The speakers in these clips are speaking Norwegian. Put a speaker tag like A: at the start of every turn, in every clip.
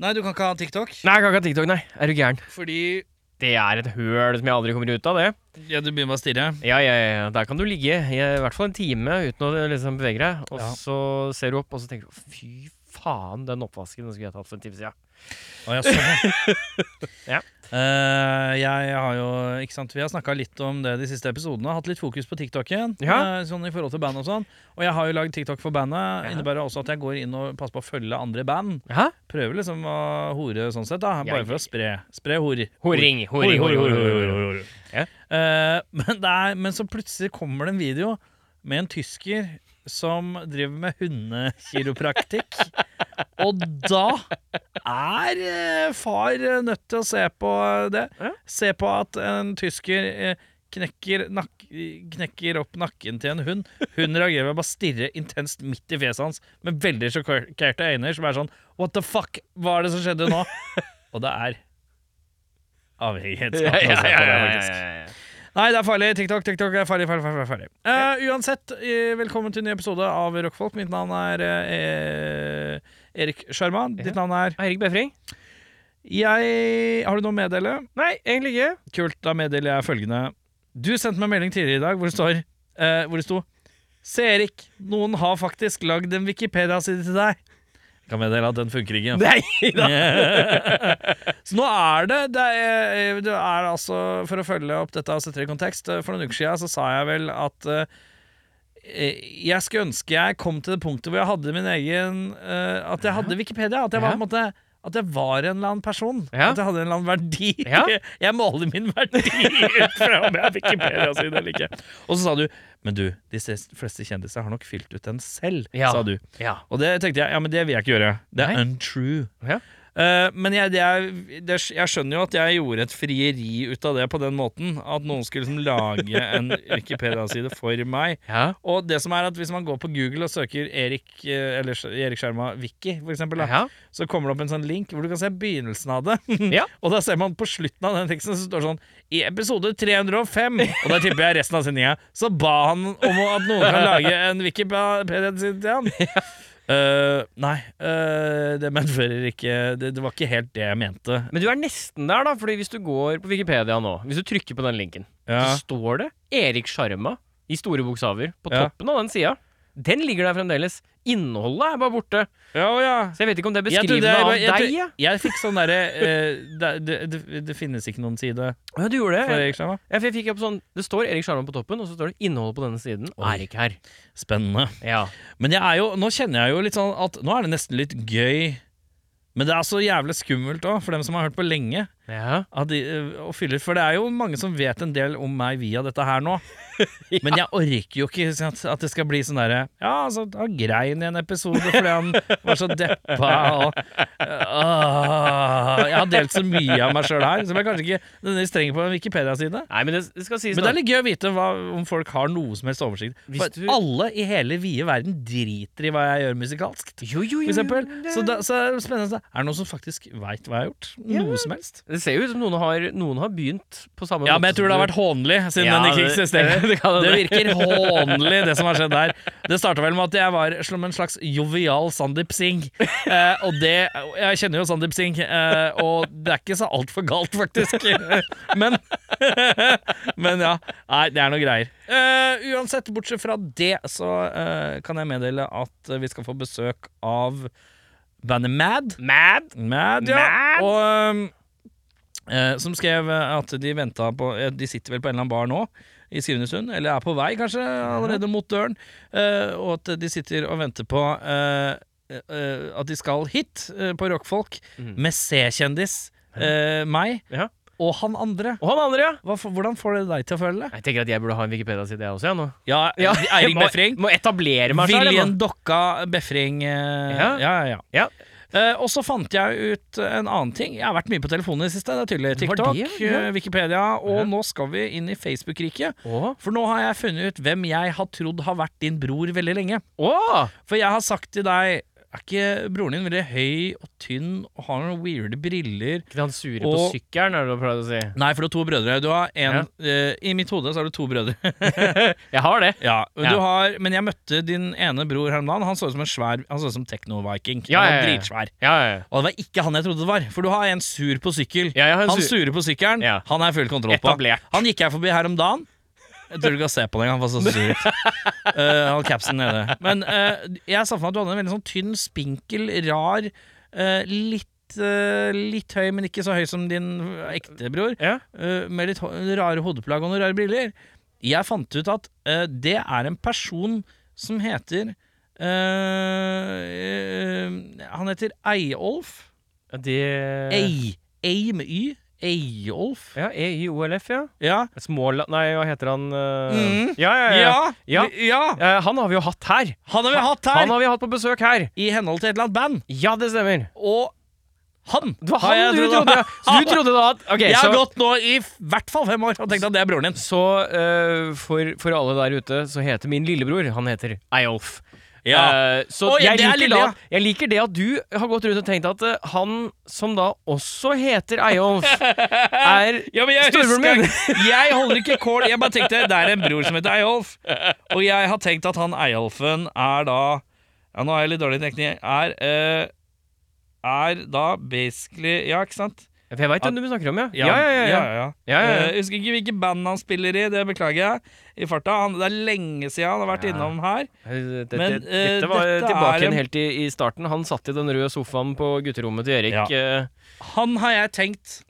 A: Nei, du kan ikke ha TikTok.
B: Nei, jeg kan ikke ha TikTok, nei. Er du gæren?
A: Fordi
B: Det er et høl som jeg aldri kommer ut av, det.
A: ja, du begynner bare å stirre.
B: Ja, ja, ja. Der kan du ligge i i hvert fall en time uten å liksom bevege deg. Og
A: Ja.
B: så ser du opp, og så tenker du fy faen, den oppvasken den skulle jeg tatt for en time siden.
A: Å, ja, sånn,
B: Ja.
A: Eh, jeg har jo, ikke sant, Vi har snakka litt om det de siste episodene. Hatt litt fokus på TikTok igjen.
B: Ja.
A: eh, sånn i forhold til band Og sånn Og jeg har jo lagd TikTok for bandet.
B: Ja.
A: Innebærer også at jeg går inn og passer på å følge andre band.
B: Hæ?
A: Prøver liksom å hore sånn sett, da.
B: Ja,
A: Bare for å spre, spre hor.
B: Horing, horing, horing, horing, horing, horing. Ja.
A: Eh, men, det er, men så plutselig kommer det en video med en tysker som driver med hundekiropraktikk. og da er eh, far eh, nødt til å se på eh, det.
B: Ja.
A: Se på at en tysker eh, knekker, nak knekker opp nakken til en hund. Hun reagerer ved å bare stirre intenst midt i fjeset hans med veldig sjokkerte øyne. Som er sånn What the fuck? Hva er det som skjedde nå? og det er
B: Ja,
A: avhengighetsskapende
B: ja,
A: å se
B: ja,
A: på det,
B: ja, ja,
A: faktisk.
B: ja, ja.
A: Nei, det er farlig. TikTok, TikTok er farlig. farlig, farlig, farlig. Eh, Uansett, eh, velkommen til en ny episode av Rockfolk. Mitt navn er eh, Erik Sjarma. Ditt navn er
B: Eirik Befring?
A: Jeg Har du noe å meddele?
B: Nei, egentlig ikke.
A: Kult, da meddeler jeg følgende. Du sendte meg en melding tidligere i dag hvor det står eh, Hvor det sto Se-Erik, noen har faktisk lagd en Wikipedia-side til deg. Jeg kan meddele at den funker ikke.
B: Nei da.
A: Så nå er det Det er, det er altså For å følge opp dette og sette det i kontekst eh, For noen uker siden så sa jeg vel at eh, Jeg skulle ønske jeg kom til det punktet hvor jeg hadde min egen eh, At jeg hadde Wikipedia At jeg var,
B: Ja.
A: på en måte, at jeg var en eller annen person
B: Ja.
A: At jeg hadde en eller annen verdi
B: Ja.
A: Jeg måler min verdi ut fra om jeg har Wikipedia sin eller ikke Og så sa du Men du, de fleste kjendiser har nok fylt ut den selv
B: Ja.
A: Sa du
B: Ja.
A: og det tenkte jeg, ja, men det vil jeg ikke gjøre. Det er
B: Nei.
A: untrue.
B: Ja.
A: Eh, men jeg, det er, det, er- jeg skjønner jo at jeg gjorde et frieri ut av det på den måten. At noen skulle liksom lage en Wikipedia-side for meg.
B: ja.
A: Og det som er at hvis man går på Google og søker Erik, eh, eller Sk- Erik Skjerma Wiki, for eksempel, da,
B: ja.
A: så kommer det opp en sånn link hvor du kan se begynnelsen av det.
B: Ja.
A: og da ser man på slutten av den teksten så står det sånn I episode 305, og da tipper jeg resten av sendinga, så ba han om at noen kan lage en Wikipedia-side til han. Eh, nei, eh, det medfører ikke det, det var ikke helt det jeg mente.
B: Men du er nesten der, da. Fordi hvis du går på Wikipedia nå, hvis du trykker på den linken,
A: Ja.
B: så står det Erik Sjarma i store bokstaver på
A: Ja.
B: toppen av den sida. Den ligger der fremdeles. Innholdet er bare borte.
A: Ja, å ja.
B: Så jeg vet ikke om det er
A: Jeg trodde
B: beskrivende
A: jeg-
B: av
A: jeg trodde-
B: deg. ja.
A: Jeg fikk sånn derre eh, det, det, det, det finnes ikke noen side
B: Ja, du gjorde
A: for
B: det.
A: Erik Skjerma.
B: Ja, for jeg fikk opp sånn, Det står Erik Sjarma på toppen, og så står det innholdet på denne siden.
A: Oi.
B: Er ikke her.
A: Spennende.
B: Ja.
A: Men jeg er jo, nå kjenner jeg jo litt sånn at Nå er det nesten litt gøy Men det er så jævlig skummelt også For dem som har hørt på lenge
B: ja.
A: at de, øh, og fyller, For det er jo mange som vet en del om meg via dette her nå Men jeg orker jo ikke ikke sant, at det skal bli sånn der Ja, altså, han grein i en episode Fordi han var så deppa og, Åh, Jeg har delt så mye av meg selv her Som jeg kanskje ikke nødvendigvis trenger på en Wikipedia-side
B: Nei, men det, det skal sies,
A: men det
B: da.
A: er litt gøy å vite hva, om folk har noe som helst oversikt.
B: Hvis
A: For
B: du-
A: alle i hele vide verden driter i hva jeg gjør musikalsk.
B: Jo,
A: For
B: jo, jo, jo,
A: eksempel.
B: det-
A: Så, da, så er det spennende. Er det noen som faktisk veit hva jeg har gjort? Noe som helst?
B: Det ser jo ut som noen har, noen har begynt på samme
A: Ja, men jeg tror det har vært hånlig, siden
B: Ja,
A: den ikke
B: det-
A: eksisterer.
B: det kan
A: Det
B: hende.
A: virker hånlig, det som har skjedd der. Det starta vel med at jeg var som en slags jovial Sandeep Singh. Eh, og det Jeg kjenner jo Sandeep Singh, eh, og det er ikke så altfor galt, faktisk. Men Men ja. Nei, det er noe greier. Eh, uansett, bortsett fra det, så eh, kan jeg meddele at vi skal få besøk av bandet Mad.
B: Mad?
A: Mad, ja.
B: Mad?
A: Og, um, eh, som skrev eh, at de venta på eh, De sitter vel på en eller annen bar nå, i Skrivnesund. Eller er på vei, kanskje, allerede mot døren. eh, og at de sitter og venter på eh, eh, eh, at de skal hit, eh, på Rockfolk,
B: Mhm.
A: med C-kjendis, eh, meg,
B: Ja.
A: og han andre.
B: Og han andre, ja.
A: Hva, for- hvordan får det deg til å føle det?
B: Jeg tenker at jeg burde ha en Wikipedia-side, jeg også, ja, eh, nå.
A: Ja,
B: Jeg må, Må etablere meg selv, jeg,
A: Viljen
B: nå.
A: Dokka Befring. eh,
B: Ja.
A: ja, ja.
B: Ja.
A: Eh, og så fant jeg ut en annen ting. Jeg har vært mye på telefonen i det siste. Det er tydelig
B: Var
A: TikTok,
B: det? Ja.
A: eh, Wikipedia, og
B: Ja.
A: nå skal vi inn i Facebook-riket.
B: Å,
A: For nå har jeg funnet ut hvem jeg har trodd har vært din bror veldig lenge.
B: å,
A: For jeg har sagt til deg Er ikke broren din veldig høy og tynn og har noen weirde briller?
B: Ikke han sure på
A: Og-
B: sykkelen, er det du prøvde å si?
A: Nei, for du har to brødre. Du har en, eh, I mitt hode så har du to brødre.
B: Jeg har det.
A: Ja, men
B: Ja.
A: Du har, men jeg møtte din ene bror her om dagen. Han så ut som en svær Han så ut som Tekno-viking.
B: Ja,
A: han var
B: ja, ja.
A: dritsvær.
B: Ja, ja, ja.
A: Og det var ikke han jeg trodde det var, for du har en sur på sykkel.
B: Ja, jeg har en
A: Han
B: sur-
A: sure på sykkelen,
B: Ja.
A: han er full kontroll på.
B: Etablert.
A: Han gikk jeg forbi her om dagen. Jeg tror du kan se på den, han var så sur ut. Eh, han hadde capsen nede. Men eh, jeg sa for meg at du hadde en veldig sånn tynn, spinkel, rar, eh, litt eh, litt høy, men ikke så høy som din ekte bror.
B: Ja.
A: eh, med litt ho rare hodeplagg og noen rare briller. Jeg fant ut at eh, det er en person som heter eh, eh, Han heter Eyolf.
B: De
A: Ei, ei med Y. Eyolf.
B: Ja, E EIOLF, ja.
A: Ja.
B: Småla... Nei, hva heter han? eh?
A: Mm.
B: Ja, ja, ja.
A: Ja.
B: Ja.
A: ja!
B: Eh, han har vi jo hatt her.
A: Han har vi hatt
B: Han
A: her!
B: har vi hatt på besøk her.
A: I henhold til et eller annet band.
B: Ja, det stemmer.
A: Og han!
B: Det var
A: har jeg
B: han du
A: trodd-
B: trodde. ja. Så du trodde da at Ok,
A: Jeg har
B: så,
A: gått nå i f- hvert fall fem år og tenkt at det er broren din.
B: så eh, for, for alle der ute, så heter min lillebror Han heter Eyolf. Eh, så
A: Oi,
B: jeg,
A: det er
B: liker
A: lille,
B: da,
A: ja.
B: jeg liker det at du har gått rundt og tenkt at eh, han som da også heter Eyolf, er
A: Ja, men jeg
B: Storebroren
A: husker
B: min.
A: Jeg holder ikke kål. Jeg bare tenkte det er en bror som heter Eyolf. Og jeg har tenkt at han Eyolfen er da Ja, nå har jeg litt dårlig teknikk. Er, eh, er da basically Ja, ikke sant?
B: For jeg veit hvem du snakker om, ja. Ja, ja, ja. ja.
A: ja.
B: ja, ja,
A: Eh,
B: ja.
A: jeg husker ikke hvilket band han spiller i, det beklager jeg. I farta, han, Det er lenge siden han har vært
B: Ja.
A: innom her.
B: Dette,
A: Men, eh,
B: dette var
A: dette
B: tilbake
A: er en-
B: igjen helt i, i starten. Han satt i den røde sofaen på gutterommet til Erik.
A: Ja.
B: eh,
A: Han har jeg tenkt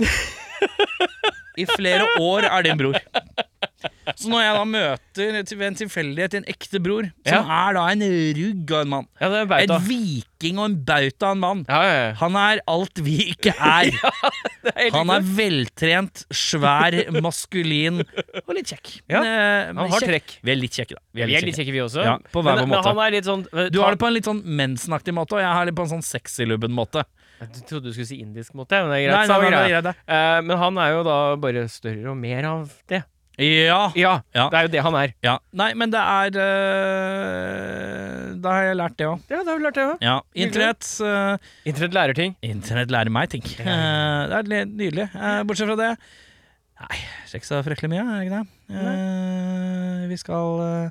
A: I flere år er din bror. Så når jeg da møter ved en tilfeldighet en ekte bror, som er da en rugg av en mann,
B: Ja, det er bauta.
A: en viking og en bauta av en mann
B: Ja, ja, ja.
A: Han er alt vi ikke er.
B: Det helt
A: Han er
B: riktig.
A: veltrent, svær, maskulin og litt kjekk.
B: Ja,
A: Men, eh,
B: han har
A: kjekk.
B: trekk.
A: Vi er litt kjekke, da.
B: Vi er litt kjekke, vi også.
A: Ja, på hver
B: men,
A: vår måte.
B: men han er litt sånn eh,
A: Du
B: ta-
A: har det på en litt sånn mensenaktig måte, og jeg har det på en sånn sexylubben måte.
B: Jeg trodde du skulle si indisk måte, men det er greit.
A: Nei, nei,
B: samme
A: nei, nei,
B: greie.
A: greit det.
B: Eh, men han er jo da bare større og mer av det.
A: Ja,
B: Ja,
A: Ja.
B: det er jo det han er.
A: ja. Nei, men det er øh, Da har jeg lært det òg.
B: Ja, det har du lært det òg.
A: Ja. Internett øh,
B: Internett lærer ting.
A: Internett lærer meg ting. Eh, det er litt nydelig. Eh, bortsett fra det Nei, det er ikke så fryktelig mye, er det ikke det? Eh, vi skal, eh,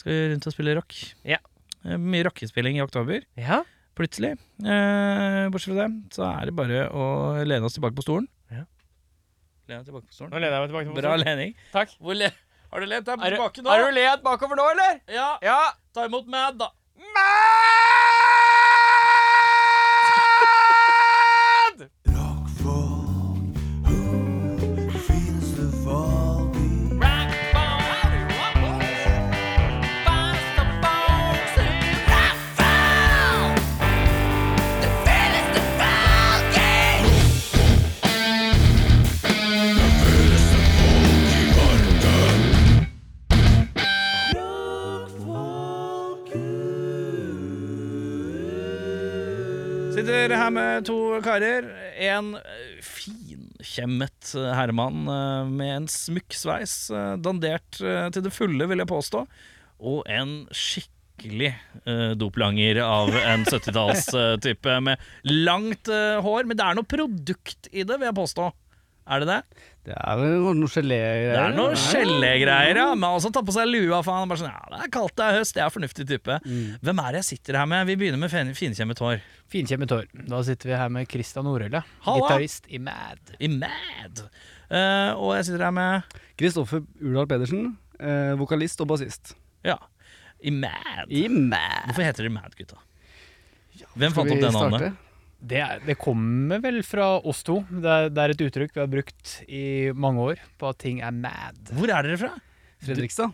A: skal rundt og spille rock.
B: Ja.
A: Eh, Mye rockespilling i oktober.
B: Ja.
A: plutselig. Eh, bortsett fra det, så er det bare å lene oss tilbake på stolen.
B: Ja.
A: Lene tilbake på stolen.
B: Nå lener jeg meg tilbake.
A: Bra lening.
B: Takk.
A: Hvor le har du lent deg
B: Er
A: tilbake
B: du,
A: nå?
B: er du lent bakover nå, eller?
A: Ja,
B: Ja.
A: ta imot Mad, da.
B: Mad!
A: Sitter her med to karer. En eh, finkjemmet eh, herremann eh, med en smukk sveis, eh, dandert eh, til det fulle, vil jeg påstå. Og en skikkelig eh, doplanger av en 70-tallstype med langt eh, hår. Men det er noe produkt i det, vil jeg påstå. Er det det?
C: Det er vel noe gelégreier.
A: Det Mm. er noen skjellegreier, ja. Men han også tar på seg lua, faen. Han Bare sånn, ja, det er kaldt, det er høst, jeg er fornuftig type. Hvem er det jeg sitter her med? Vi begynner med fin- finkjemmet hår.
C: Finkjemmet hår. Da sitter vi her med Christian Orølle,
A: Halla!
C: gitarist i Mad.
A: I Mad. Eh, og jeg sitter her med
D: Kristoffer Urdal Pedersen, eh, vokalist og bassist.
A: Ja, i Mad.
C: I Mad.
A: Hvorfor heter de Mad, gutta? Hvem
D: Skal
A: fant opp
D: vi
A: det navnet?
D: starte?
C: Det, er, det kommer vel fra oss to. Det er, det er et uttrykk vi har brukt i mange år på at ting er mad.
A: Hvor er dere fra?
D: Fredrikstad?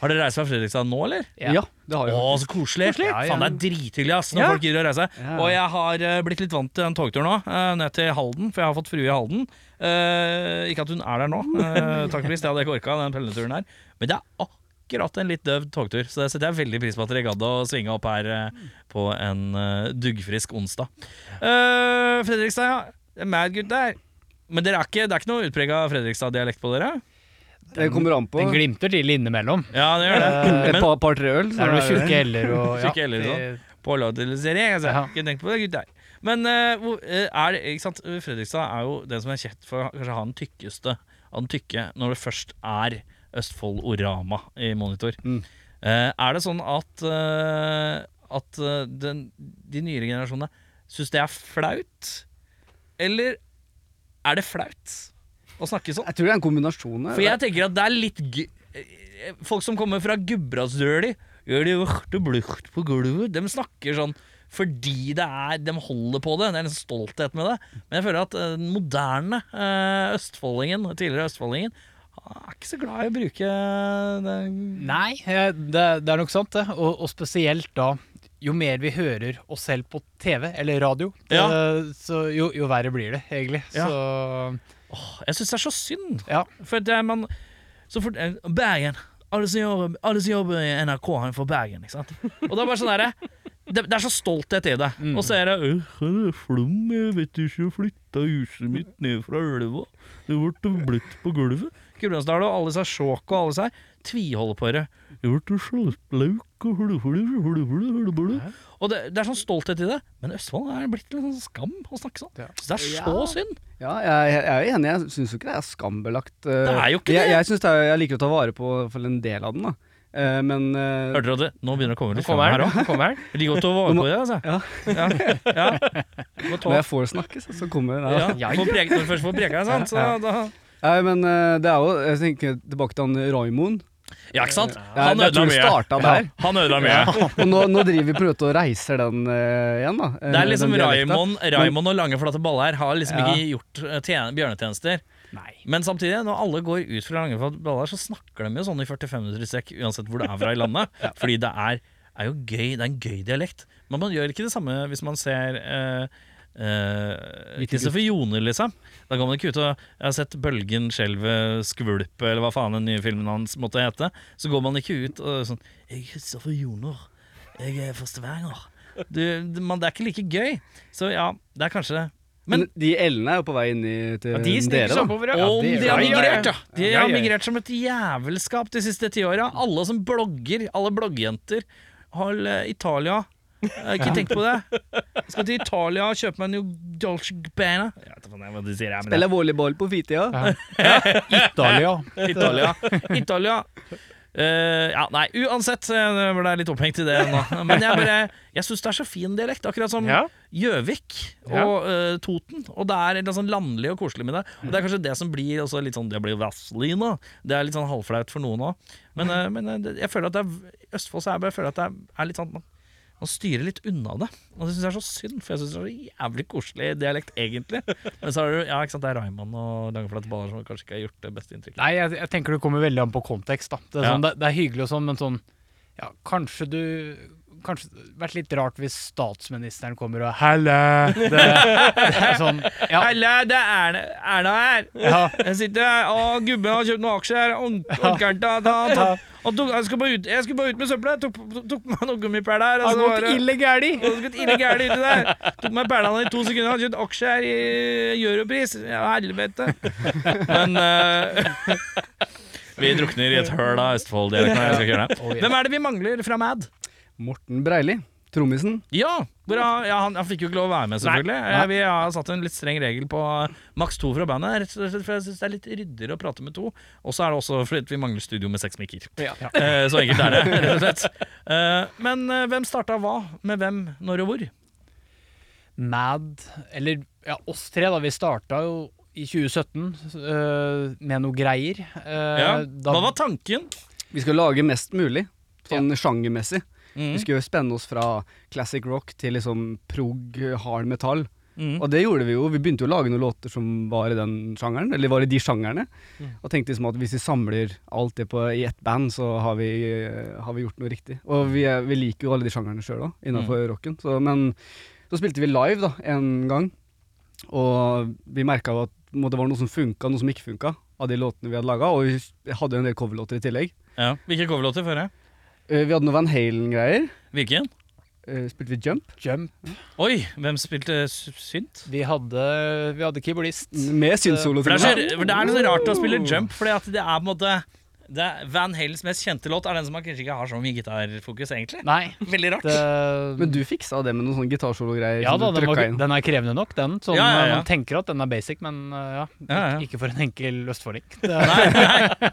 A: Har dere reist fra Fredrikstad nå, eller?
C: Ja.
D: det har
A: Å,
D: vi.
A: så koselig!
C: Koselig. Ja, ja.
A: Faen, det er drithyggelig ass, når
C: Ja.
A: folk gidder å reise.
D: Ja.
A: Og jeg har eh, blitt litt vant til den togturen nå, eh, ned til Halden, for jeg har fått frue i Halden. Eh, ikke at hun er der nå, eh, takk for det hadde jeg ikke orka, den pendlerturen her. Men det er akkurat en litt døv togtur, så det setter jeg veldig pris på at dere gadd å svinge opp her eh, på en eh, duggfrisk onsdag. Eh, Fredrikstad, ja. Det er Mad gutt der. Men dere er ikke, det er ikke noe utprega Fredrikstad-dialekt på dere?
D: Det kommer an på.
C: Den glimter til innimellom.
A: Ja, det gjør det.
C: Eh,
D: Et
A: Men
D: par- par-tre øl.
C: Så er det
D: er
C: tjukke l-er og
A: Tjukke L-er og
C: det-
A: på låtserie. Altså,
E: Ja.
A: Ikke tenkt på det, gutt der. Men eh, hvor, eh, er det, ikke sant? Fredrikstad er jo den som er kjent for å kanskje ha den tykkeste av den tykke når det først er Østfold Orama i monitor.
D: Mm.
A: Eh, er det sånn at, eh, at eh, den, de nyere generasjonene syns det er flaut? Eller er det flaut å snakke sånn?
D: Jeg tror det er en kombinasjon her.
A: For jeg tenker at det er litt gøy Folk som kommer fra Gudbrandsdøli Gjør det urte blukt på gulvet De snakker sånn fordi det er, de holder på det, det er en stolthet med det Men jeg føler at eh, den moderne eh, Østfoldingen, tidligere Østfoldingen han Er ikke så glad i å bruke den.
E: Nei, eh, det, det er nok sant, det. Og, og spesielt da jo mer vi hører oss selv på TV eller radio, det,
A: Ja.
E: så jo, jo verre blir det egentlig.
A: Ja.
E: Så
A: Jeg synes det er så synd
E: ja.
A: For det er man så fort, eh, Bergen alle som, jobber, alle som jobber i NRK han er fra Bergen ikke sant? Og det er bare sånn der det, det er så stolthet i det
E: Mm.
A: Og så er det «Øh, her er Flom, jeg vet ikke Jeg flytta huset mitt ned fra elva Det ble bløtt på gulvet Gudbrandsdal og alle seg sjåk og alle seg Tviholder på det Det ble slautlauk og hulu, hulu, hulu, hulu, hulu, hulu». Og det, det er sånn stolthet i det Men Østfold er blitt litt sånn skam å snakke sånn
E: Ja.
A: Så det er så
D: Ja.
A: synd
D: Ja, jeg, jeg er jo enig. Jeg syns jo ikke det er skambelagt. eh,
A: Det er jo ikke
D: jeg,
A: det.
D: Jeg, synes det er, jeg liker å ta vare på i hvert fall en del av den, da. Eh, men eh,
A: Hørte dere det? Nå begynner det å komme
C: Nå
A: litt frem
C: kommer
A: her også
C: den. nå kommer den.
A: De går til å vare på det, altså.
D: Ja.
A: Ja. ja. Må ta-
D: når jeg får snakke, så, så kommer den.
A: ja.
D: Ja.
A: Får preg, når du først får prega, sant? Så da
D: Nei, men eh, det er jo Jeg tenker tilbake til han Raymond.
A: Ja, ikke sant?
D: Ja,
A: Han
D: jeg
A: ødela
D: tror det
A: mye.
D: starta der.
A: Han ødela mye.
D: Og nå, nå driver vi på en måte og reiser den eh, igjen, da. eh,
A: Det er liksom
D: den dialekta.
A: Raimond, Raimond og lange, flate baller har liksom
D: Ja.
A: ikke gjort eh, tjen- bjørnetjenester.
E: Nei.
A: Men samtidig, når alle går ut fra lange, flate baller, så snakker de jo sånn i 45 minutter i strekk, uansett hvor det er fra i landet. Fordi det er, er jo gøy. Det er en gøy dialekt. Men man gjør ikke det samme hvis man ser eh, Eh, Kristoffer Joner, liksom. Da kan man ikke ut og Jeg har sett Bølgen, Skjelvet, Skvulp eller hva faen den nye filmen hans måtte hete. Så går man ikke ut og sånn Jeg er Kristoffer Joner. Jeg er fra Stavanger. Du, det- man, det er ikke like gøy. Så ja, det er kanskje det.
D: Men de L-ene er jo på vei inn i, til
C: Ja, de
D: dere,
C: sniker seg
D: da.
C: oppover, ja.
A: Om
E: det gjør
A: de har
C: det.
A: migrert, ja. De
C: Ja, ja,
A: har
C: ja.
A: migrert som et jævelskap de siste ti åra. Alle som blogger, alle bloggjenter. Hold eh, Italia. Eh, Ikke tenk på det. Jeg skal til Italia og kjøpe meg en New Dolce Gabbana. Jeg vet ikke hva de sier, jeg, men det-
D: Spiller volleyball på fritida.
E: Italia.
A: Italia. Italia. Eh, ja, nei, uansett. Jeg ble litt opphengt i det nå. Men jeg, bare- jeg syns det er så fin dialekt. Akkurat som
C: ja.
A: Gjøvik og eh, Toten. Og det er litt sånn landlig og koselig med det. Og det er kanskje det som blir også litt sånn Det blir Vazelina. Det er litt sånn halvflaut for noen òg. Men, eh, men eh, det- jeg føler at det er Østfold så er jeg bare jeg føler at det er, er litt sånn man, man styrer litt unna det. Og det syns jeg er så synd, for jeg syns det er så jævlig koselig dialekt, egentlig. Men så har du Ja, ikke sant, det er Raymond og Langeflate Baller som kanskje ikke har gjort det beste inntrykket.
E: Nei, jeg, jeg tenker det kommer veldig an på kontekst. da. Det er,
A: Ja.
E: sånn, det, det er hyggelig og sånn, men sånn ja, Kanskje du Kanskje det hadde vært litt rart hvis statsministeren kommer og Helle! Det, det er sånn, ja,
A: Halla, det er Erna her!
E: ja,
A: Jeg sitter her, og gubben har kjøpt noen aksjer. Onkelen til han
E: ja.
A: Han tok, jeg, skulle bare ut, jeg skulle bare ut med søpla. Jeg tok, tok meg noen gummipæler
E: Har
A: der. Og så var
E: gått
A: det
E: ille gæli!
A: og så gått ille gærent uti der. Tok meg pælene i to sekunder. Hadde kjøpt aksjer i europris. Ja, helvete. Men eh, Vi drukner i et høl av Østfold-dialekten.
E: Oh, ja.
A: Hvem er det vi mangler fra Mad?
D: Morten Breili, trommisen.
A: Ja, hvor han, ja han, han fikk jo ikke lov å være med, selvfølgelig. Eh, Vi har satt en litt streng regel på eh, maks to fra bandet. Rett og slett For jeg syns det er litt ryddigere å prate med to. Og så er det også fordi at vi mangler studio med seks mikker.
E: Ja.
A: Eh, Så enkelt er det, rett og slett. Eh, Men eh, hvem starta hva? Med hvem, når og hvor?
E: Mad Eller ja, oss tre, da. Vi starta jo i 2017 øh, med noe greier. øh,
A: Ja.
E: da-
A: Hva var tanken?
D: Vi skal lage mest mulig, sånn sjangermessig.
A: Mm.
D: Vi skal jo spenne oss fra classic rock til liksom prog, hard metall.
A: Mm.
D: Og det gjorde vi jo. Vi begynte jo å lage noen låter som var i den sjangeren, eller var i de sjangerne. Og tenkte liksom at hvis vi samler alt det på, i ett band, så har vi, eh, har vi gjort noe riktig. Og vi, er- vi liker jo alle de sjangerne sjøl òg, innafor rocken. Så, men så spilte vi live da, en gang, og vi merka at på en måte, det var noe som funka, noe som ikke funka, av de låtene vi hadde laga. Og vi hadde jo en del coverlåter i tillegg.
A: Ja. Hvilke coverlåter før jeg?
D: Eh, Vi hadde noe Van Halen-greier.
A: Hvilken?
D: Eh, Spilte vi Jump?
E: Jump.
A: Oi, hvem spilte s- synt?
E: Vi hadde, vi hadde keyboardist.
D: Med
A: For det, er så,
D: synssolo-timer.
A: for det er så rart å spille jump, Fordi at det er på en måte Det er Van Hales mest kjente låt er den som man kanskje ikke har så mye gitarfokus, egentlig.
E: Nei.
A: Veldig rart.
E: Det,
D: Men du fiksa det med noen sånne gitarsologreier?
E: ja
D: som
E: da,
D: du
E: den, var,
D: trykka inn.
E: den er krevende nok, den. Sånn,
A: Ja, ja, ja.
E: Man tenker at den er basic, men uh, ja,
A: Ja, ja.
E: Ikke for en enkel østfolding. Det-
A: Nei, nei.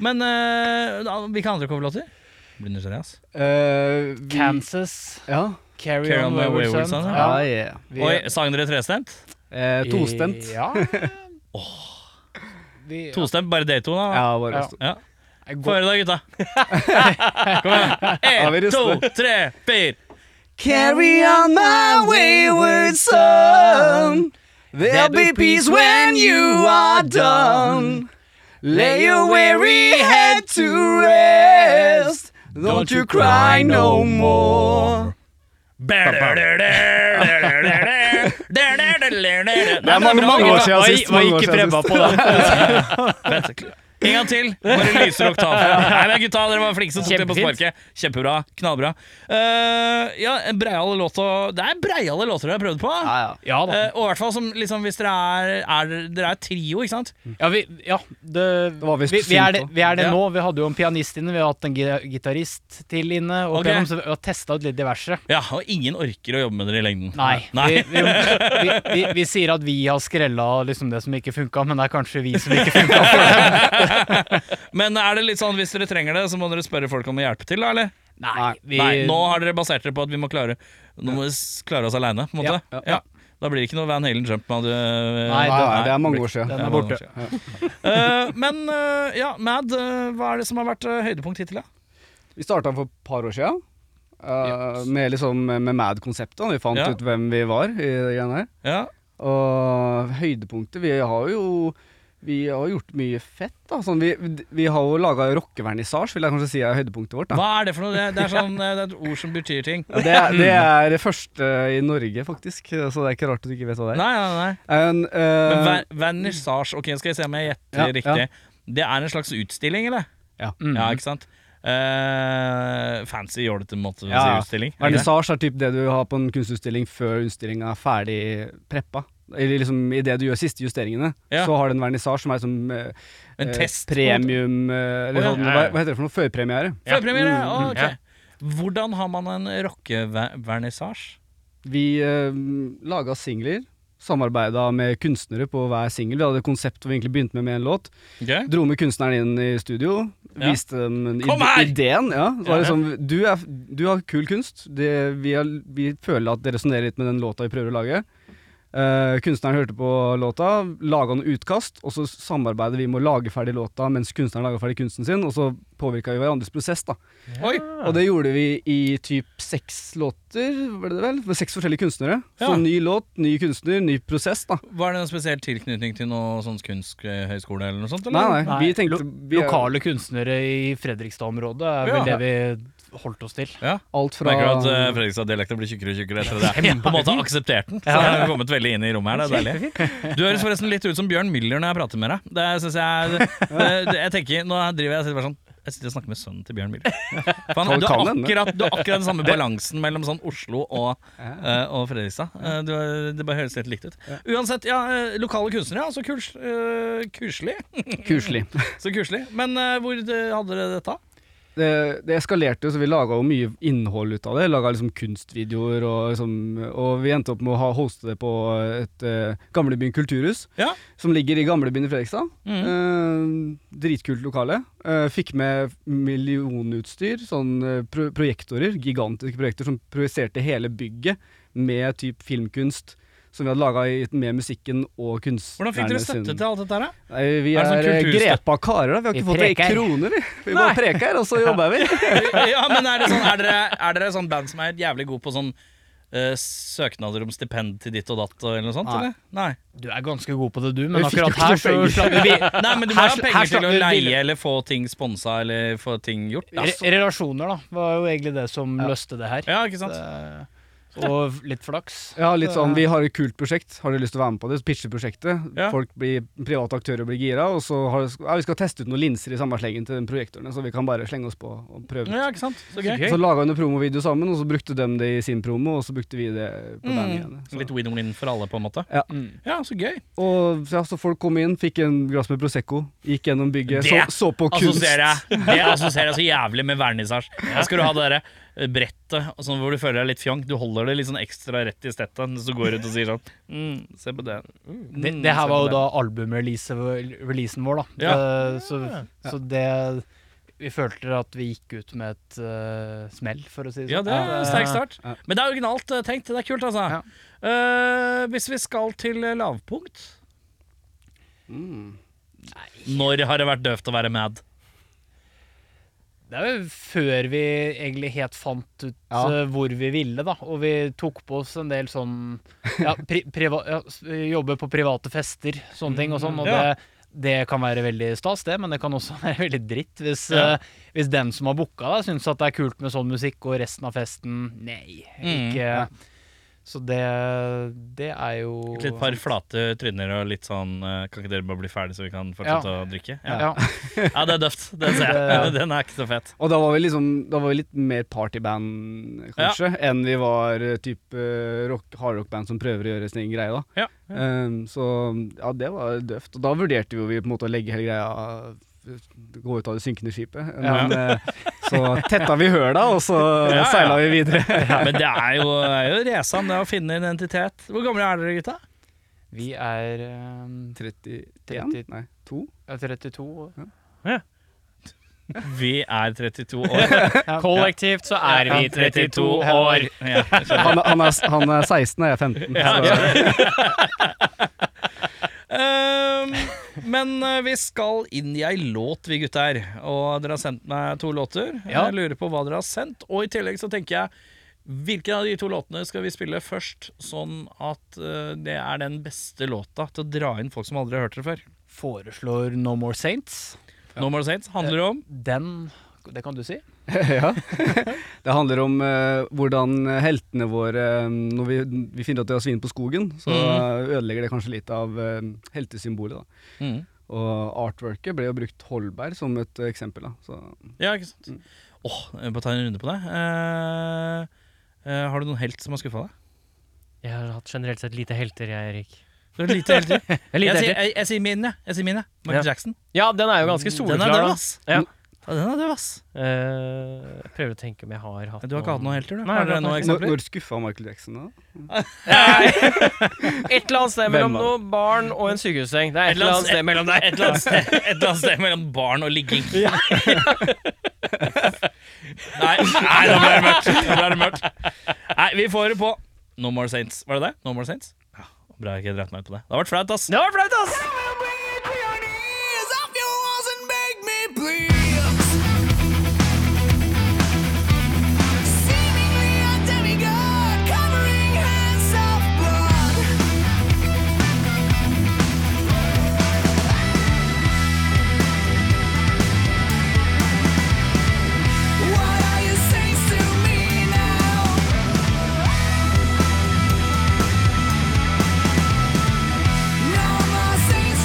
A: Men eh, da- hvilke andre coverlåter? Blir nysgjerrig, ass.
D: Eh, vi-
E: Kansas,
D: Ja.
E: Carry,
A: Carry
E: On
A: On My
E: Wayward
A: Wayward
E: Son.
A: Son,
D: Ja,
E: Ja.
D: ja.
E: Vi-
A: Oi, sang dere trestemt?
D: Eh, tostemt.
E: Ja. Vi,
A: Tostemt, bare dere to, da.
D: Ja, bare
E: Ja.
D: stå-
A: Ja.
E: Jeg
A: Få
E: går-
A: høre, da, gutta. Kom igjen.
D: Ja, vi
A: Én, to,
D: rister.
A: tre, fire.
D: Carry on my wayward son. There'll be peace when you are done. Lay your weary head to rest. Don't you cry no more.
A: Det er
D: mange- mange år siden
E: Hva-
D: sist,
E: hva
D: mange år
E: gikk
D: siden
E: Preben
D: sist.
E: på da?
A: Vent. En gang til. Bare lyser oktaven. Nei, men gutta, dere var flinke som tok det på
E: Kjempefint.
A: sparket. Kjempebra. Knallbra. Eh, ja, en breiale låt å Det er breiale låter dere har prøvd på.
D: Ja, ja.
E: Ja da.
A: Eh, og i hvert fall som, liksom, hvis dere er, er Dere er et trio, ikke sant?
E: Ja, vi, ja det,
D: var
E: vi,
D: visst
E: vi, er
D: synd
E: det,
D: på.
E: vi er det
A: Ja.
E: nå. Vi hadde jo en pianist inne, vi har hatt en gi- gitarist til inne. Og
A: Ok.
E: piano, så vi har testa ut litt diverse.
A: Ja, Og ingen orker å jobbe med dere i lengden.
E: Nei.
A: Nei.
E: Vi, vi, vi, vi, vi sier at vi har skrella liksom det som ikke funka, men det er kanskje vi som ikke funka.
A: Men er det litt sånn hvis dere trenger det, så må dere spørre folk om å hjelpe til, da, eller?
D: Nei,
E: vi,
A: Nei, nå har dere basert dere på at vi må klare Nå må vi s- klare oss aleine, på en måte. Ja,
D: Ja, ja.
A: Da blir det ikke noe Van Halen Jump. Man, du, eh,
E: Nei,
D: Nei,
E: den
D: nei, det er mange år siden.
E: Den
A: Ja,
E: er borte.
A: Eh, men eh, ja, Mad, eh, hva er det som har vært eh, høydepunkt hittil, da?
D: Vi starta for et par år sia. med liksom, med Mad-konseptet. Vi fant
A: Ja.
D: ut hvem vi var i det greiene her.
A: Ja.
D: Og høydepunktet Vi har jo vi har gjort mye fett. da sånn, vi, vi har jo laga rockevernissasje, vil jeg kanskje si er høydepunktet vårt. da
A: Hva er det for noe? Det, det er sånn, eh, det er et ord som betyr ting.
D: Ja, det, er- det er det første i Norge, faktisk, så det er ikke rart at du ikke vet hva det er.
A: Nei, nei, nei.
D: En, eh,
A: Men ver- vernissasje, ok, skal jeg se om jeg gjetter
D: Ja, ja.
A: riktig. Det er en slags utstilling, eller?
D: Ja.
A: Ja, ikke sant? Eh, fancy jålete måte å
D: Ja.
A: si utstilling. ikke sant?
D: vernissasje er typ det du har på en kunstutstilling før utstillinga er ferdig preppa. Eller liksom idet du gjør siste justeringene,
A: Ja.
D: så har du en vernissasje som er som eh,
A: En
D: eh,
A: test, på en måte.
D: Premium eh, Eller
A: Å, ja.
D: sånn, hva, hva heter det for noe? Førpremiere.
A: Førpremiere?
D: Mm,
A: Å,
E: mm, ja.
A: ok. Hvordan har man en rockevernissasje?
D: Vi eh, laga singler, samarbeida med kunstnere på hver singel. Vi hadde et konsept hvor vi egentlig begynte med med en låt.
A: Okay.
D: Dro med kunstneren inn i studio,
A: Ja.
D: viste dem en
A: Kom
D: ide-
A: her!
D: ideen. Ja. Så var det
A: Ja.
D: sånn, du, er, du har kul kunst, det, vi, har, vi føler at det resonnerer litt med den låta vi prøver å lage. Eh, kunstneren hørte på låta, laga noen utkast, og så samarbeidet vi med å lage ferdig låta mens kunstneren laga ferdig kunsten sin, og så påvirka vi hverandres prosess, da.
A: Oi!
D: Og det gjorde vi i typ seks låter, var det det vel? Med seks forskjellige kunstnere.
A: Ja.
D: Så ny låt, ny kunstner, ny prosess, da.
A: Var det en spesiell tilknytning til noe sånn kunsthøyskole eller noe sånt? Eller?
D: Nei, nei,
E: Nei,
D: vi tenkte
E: lo-
D: vi er-
E: Lokale kunstnere i Fredrikstad-området er vel
A: Ja.
E: det vi holdt oss til.
A: Ja.
D: Alt fra
A: Merker du at eh, Fredrikstad-dialekten blir tjukkere og tjukkere etter det? Jeg på en måte har akseptert den. Så jeg har kommet veldig inn i rommet her, det er deilig. Du høres forresten litt ut som Bjørn Müller når jeg prater med deg. Det synes jeg det, det, Jeg tenker, Nå driver jeg og sitter bare sånn jeg sitter og snakker med sønnen til Bjørn Müller. For han,
D: Han
A: du, har
D: kan hende.
A: akkurat, du har akkurat den samme balansen mellom sånn Oslo og, eh, og Fredrikstad. Eh, du, det bare høres helt likt ut. Uansett, ja, eh, lokale kunstnere, altså kurs, eh, kurslig.
D: Kuselig.
A: Så koselig. Men eh, hvor eh, hadde dere dette?
D: det, det eskalerte jo, så vi laga jo mye innhold ut av det. Laga liksom kunstvideoer, og, liksom, og vi endte opp med å ha, hoste det på et eh, Gamlebyen kulturhus,
A: Ja.
D: som ligger i Gamlebyen i Fredrikstad.
A: Mhm.
D: Eh, dritkult lokale. Eh, fikk med millionutstyr, sånn eh, pro projektorer, gigantiske projekter som projiserte hele bygget med typ filmkunst. Som vi hadde laga med musikken og kunstnerne
A: Hvordan fikk dere
D: sin-
A: støtte til alt dette her? da?
D: Nei, vi
A: Er det
D: er,
A: sånn
D: eh,
A: kulturstøtte?
D: grepa karer, da. Vi har
E: Vi
D: ikke fått ei
E: preker.
D: krone, vi. Vi bare preker, og så jobber vi.
A: Ja, men er, det sånn, er, dere, er dere sånn band som er jævlig god på sånn eh, søknader om stipend til ditt og datt og eller noe sånt?
D: Nei.
A: Eller? Nei.
E: Du er ganske god på det, du, men
D: Vi fikk
E: akkurat her
D: jo ikke
E: så
D: noe
E: slapp vi
A: Nei, men du må
E: Her sl-
A: ha
E: her
A: penger til
E: slapp
A: å
E: vi
A: leie
E: billig.
A: eller få ting sponsa eller få ting gjort. Da.
E: Re- Relasjoner, da, var jo egentlig det som
D: Ja.
E: løste det her.
D: Eh,
A: Ja, ikke sant?
E: Det-
C: Eh, Og litt flaks.
D: Ja, litt sånn, Vi har et kult prosjekt, har du lyst til å være med på det? Så pitcher prosjektet.
A: Ja.
D: Folk blir, Private aktører blir gira, og så har, ja, vi skal teste ut noen linser i samme slengen til den projektoren, så vi kan bare slenge oss på og prøve.
A: Ja, ikke sant? Så gøy.
D: Så laga vi en promovideo sammen, og så brukte de det i sin promo, og så brukte vi det på
A: Mm.
D: bandgreiene. Så-
A: Litt win-win for alle, på en måte.
E: Mm.
A: Ja, så gøy.
D: Og ja, så folk kom inn, fikk en glass med Prosecco, gikk gjennom bygget, så,
A: Det
D: så på kunst.
A: Assosierer jeg. Det assosierer jeg så jævlig med vernissasje. Da skal du ha det derre eh, brettet og sånn hvor du føler deg litt fjong. Du holder det litt sånn ekstra rett i stettet mens du går ut og sier sånn mm, Se på den. Mm,
C: Det,
A: se
C: det
A: på
C: her var jo
A: den.
C: da albumreleasen vår, da. Eh, så, så det Vi følte at vi gikk ut med et eh, smell, for å si
A: Liksom.
C: det sånn.
A: Ja, det er en
C: Eh,
A: sterk start.
D: Ja.
A: Men det er originalt eh, tenkt. Det er kult, altså. Eh, hvis vi skal til eh, lavpunkt
D: Mm.
A: Når har det vært døvt å være mad?
C: Det er jo før vi egentlig helt fant ut
D: Ja.
C: eh, hvor vi ville, da. Og vi tok på oss en del sånn ja, pri priva ja, s- Jobbe på private fester, sånne ting og sånn. Og
A: Mm, Ja.
C: det, det kan være veldig stas, det, men det kan også være veldig dritt hvis,
A: Ja.
C: eh, hvis den som har booka deg, syns at det er kult med sånn musikk, og resten av festen nei.
A: Mm.
C: Ikke Så det, det er jo
A: Litt par flate tryner og litt sånn eh, Kan ikke dere bare bli ferdig, så vi kan fortsette å drikke? Ja.
C: ja.
A: ja, det er døvt. Den ser jeg.
C: Det-
A: Den er ikke så fet.
D: Og da var vi liksom Da var vi litt mer partyband, kanskje, enn vi var eh, type rock, hardrockband som prøver å gjøre sin egen greie, da.
A: Ja.
D: Ehm, så ja, det var døvt. Og da vurderte jo vi på en måte å legge hele greia eh, Gå ut av det synkende skipet.
A: Ja.
D: Men eh, så tetta vi høla, og så
A: Ja, ja.
D: seila vi videre.
A: Men det er jo, det er jo resan, det å finne identitet. Hvor gamle er dere, gutta?
C: Vi er eh,
D: 31? Nei, 2?
C: er 32. og-
A: Vi er 32 år.
C: Kollektivt så er vi 32 år.
A: Ja.
D: Han, er- han, er, han er 16, og jeg er 15. så-
A: Ehm, men eh, vi skal inn i ei låt, vi gutter. Og dere har sendt meg to låter.
C: Ja.
A: Jeg lurer på hva dere har sendt. Og i tillegg så tenker jeg Hvilken av de to låtene skal vi spille først, sånn at eh, det er den beste låta til å dra inn folk som aldri har hørt det før?
C: Foreslår No More Saints.
A: No More Saints handler om
C: Den Det kan du si.
D: ja. Det handler om eh, hvordan heltene våre eh, Når vi, vi finner at de har svin på skogen, så
A: Mhm.
D: eh, ødelegger det kanskje litt av eh, heltesymbolet. Da.
A: mm.
D: Og artworket ble jo brukt Holberg som et eh, eksempel. Da. Så,
A: Ja, ikke sant? Åh, jeg må bare ta en runde på det. Eh, eh, har du noen helt som har skuffa deg?
B: Jeg har hatt generelt sett lite helter, jeg, Erik.
A: Du er lite helter. jeg,
B: Jeg er lite
A: sier-
B: helter.
A: jeg, jeg sier min, jeg. jeg sier min, jeg. Michael Jackson.
C: Ja, den er jo ganske
A: Den er
C: da.
A: døv, ass.
B: Ja.
A: Ja, den er døv, ass.
B: Eh, jeg prøver å tenke om jeg har hatt
A: Du har ikke hatt noen helter, du?
B: Nei,
A: har dere
B: jeg har
A: noen
B: ikke
D: når,
A: eksempler?
D: når skuffa Michael Jackson da?
C: Et eller annet sted
D: Hvem
C: mellom noe
D: var
C: barn og en sykehusseng. Det er et eller annet sted mellom
A: Et
C: der.
A: eller annet sted, et eller annet sted mellom barn og ligging. Nei, nei, da ble det mørkt. Da ble det mørkt. Nei, vi får det på No More Saints. Var det det? No More Saints? Ja, Bra jeg ikke dreit meg ut på det. Det har vært flaut, ass.
C: Det var flaut, ass!
F: What are you saying to me now? No more saints.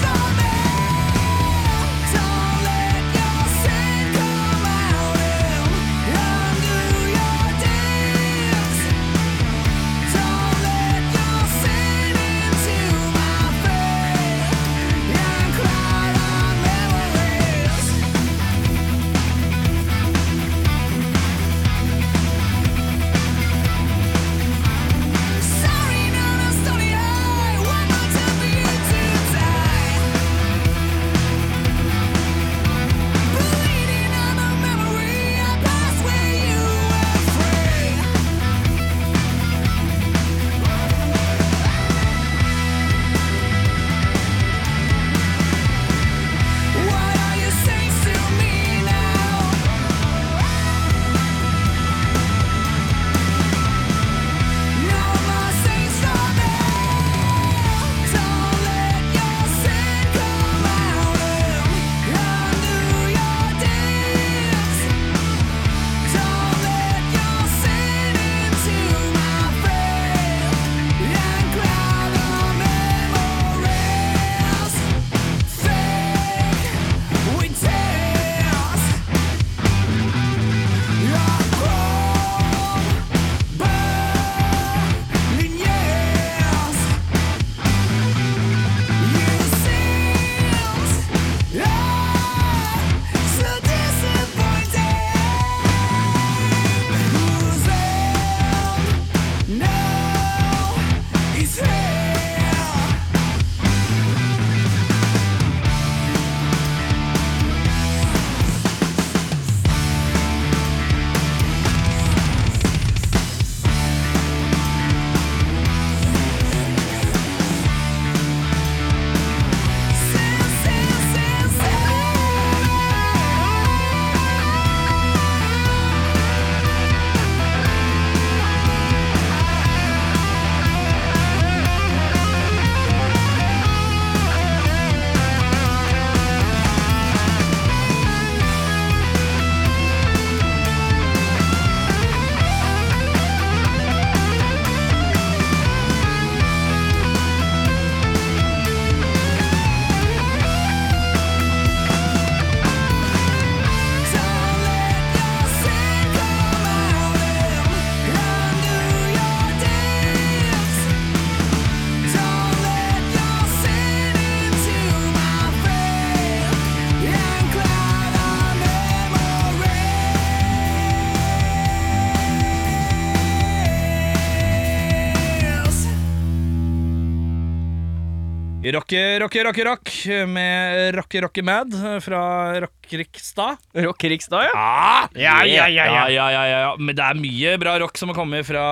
A: Rocke, rocke, rocke, rock med Rocke, rocke mad fra Rockrikstad.
G: Rock Rikstad, ja.
A: Ah,
G: Ja, ja, ja, ja.
A: ja, ja, ja, ja. Men det er mye bra rock som har kommet fra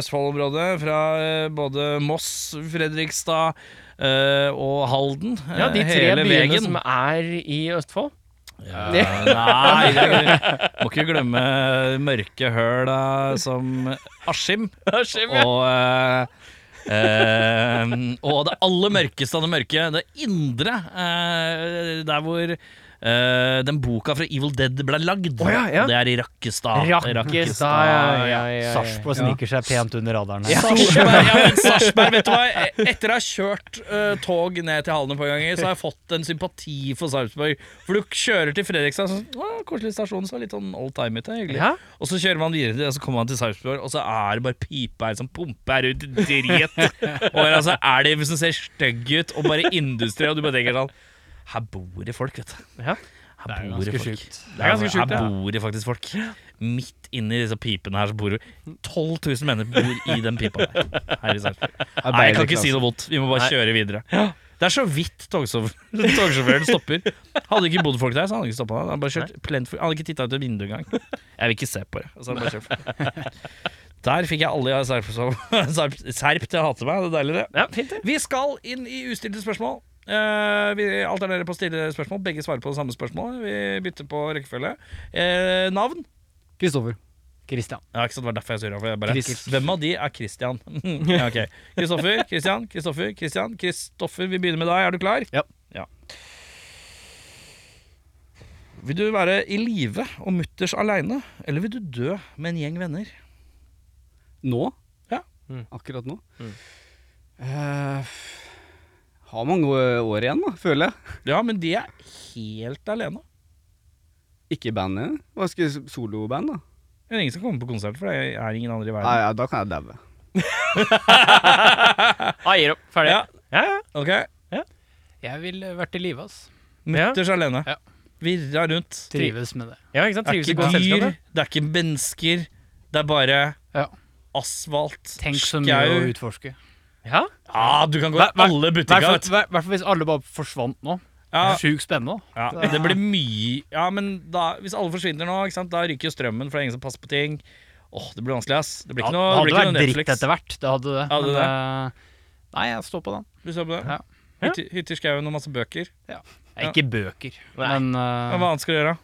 A: Østfold-området. Fra eh, både Moss, Fredrikstad eh, og Halden.
B: Ja, de
A: Eh,
B: tre
A: hele
B: byene
A: veien.
B: som er i Østfold.
A: Ja, Nei, det er- må ikke glemme mørke høl eh, som Askim. Og eh, eh, Og det aller mørkeste av det mørke, det indre, eh, der hvor eh, den boka fra Evil Dead ble lagd.
B: ja, ja.
A: Det er i Rakkestad.
B: Rakkestad, ja, ja, ja, ja.
C: Sarpsborg sniker seg pent under radaren. her.
A: Sarpsborg, ja, men Sarpsborg, vet du hva? Etter å ha kjørt eh, tog ned til Halden et par ganger, så har jeg fått en sympati for Sarpsborg. For du kjører til Fredrikstad, sånn, «Å, koselig stasjon, så er det litt sånn old time ute, hyggelig.
B: Ja.
A: Og så kjører man videre, til- og så kommer man til Sarpsborg, og så er det bare pipe her som pumper ut drit. og altså, er det som ser stygg ut, og bare industri, og du bare tenker sånn Her bor det folk, vet du.
B: Ja.
A: Her bor det folk.
G: Det er ganske
A: Her-
G: sjukt,
A: Her
G: ja.
A: bor det faktisk folk. Midt inni disse pipene her så bor det 12 000 mennesker bor i den pipa der. Her i Sarpsborg. Nei, jeg kan ikke
D: altså?
A: si noe vondt. Vi må bare kjøre videre. Det er så vidt togsjåf- togsjåføren stopper. Hadde ikke bodd folk der, så hadde han ikke stoppa. Han hadde bare kjørt plent for- han hadde ikke titta ut et vindu engang. Jeg vil ikke se på det. Og så hadde han bare kjørt forbi. Der fikk jeg alle jeg serp, serp, serp til å hate meg. Det er deilig, det.
B: Ja, fint det.
A: Vi skal inn i ustilte spørsmål. Eh, vi alternerer på å stille spørsmål. Begge svarer på det samme spørsmålet. Vi bytter på rekkefølge. Eh, navn?
D: Kristoffer.
C: Christian.
A: Ja, ikke sant, Det var derfor jeg surra. for jeg bare-
C: Chris.
A: Hvem av de er Christian? ja, ok. Kristoffer, Christian, Kristoffer, Christian. Kristoffer, vi begynner med deg. Er du klar?
C: Ja.
A: Vil du være i live og mutters aleine, eller vil du dø med en gjeng venner?
D: Nå?
A: Ja.
B: Mm.
D: Akkurat nå?
B: Mm.
D: Eh, har mange å- år igjen, da, føler jeg.
A: Ja, men de er helt alene.
D: Ikke i bandet. Hva skal jeg- soloband, da?
A: Det er ingen som kommer på konsert, for det er ingen andre i verden.
D: Nei, ja, da kan jeg daue.
B: Ah, gir opp. Ferdig.
A: Ja.
B: Ja, ja.
A: Ok,
C: Jeg ville vært i live, ass.
A: Mutters alene.
C: Ja.
A: Virra rundt.
C: Trives med det.
B: ja ikke sant?
A: Det er
B: Trives i
A: ikke
B: godt
A: dyr,
B: selskap. da.
A: det er ikke mennesker. Det er bare
C: Ja.
A: asfalt,
C: Tenk så mye å
A: skau
C: utforske.
B: Ja.
A: Ja, du kan gå i
C: Hver- hver-
A: alle
C: I hvert
A: butikker. vet du.
C: fall- hvert fall hvis alle bare forsvant nå.
A: Ja,
C: Sjukt spennende.
A: ja, det blir mye Ja, men da, hvis alle forsvinner nå, ikke sant? da ryker jo strømmen, for det er ingen som passer på ting. Åh, det blir vanskelig, ass. Det blir
C: Ja,
A: ikke
C: det
A: noe, det
C: hadde
A: blir ikke
C: vært
A: noe
C: dritt
A: Netflix.
C: etter hvert. Det hadde det.
A: Hadde
C: men, eh, Nei, jeg står på den.
A: Du så på det?
C: Ja.
A: Hytte- Hytte i skauen og masse bøker.
C: Det er Ikke bøker, men eh,
A: Ja, Hva annet skal du gjøre?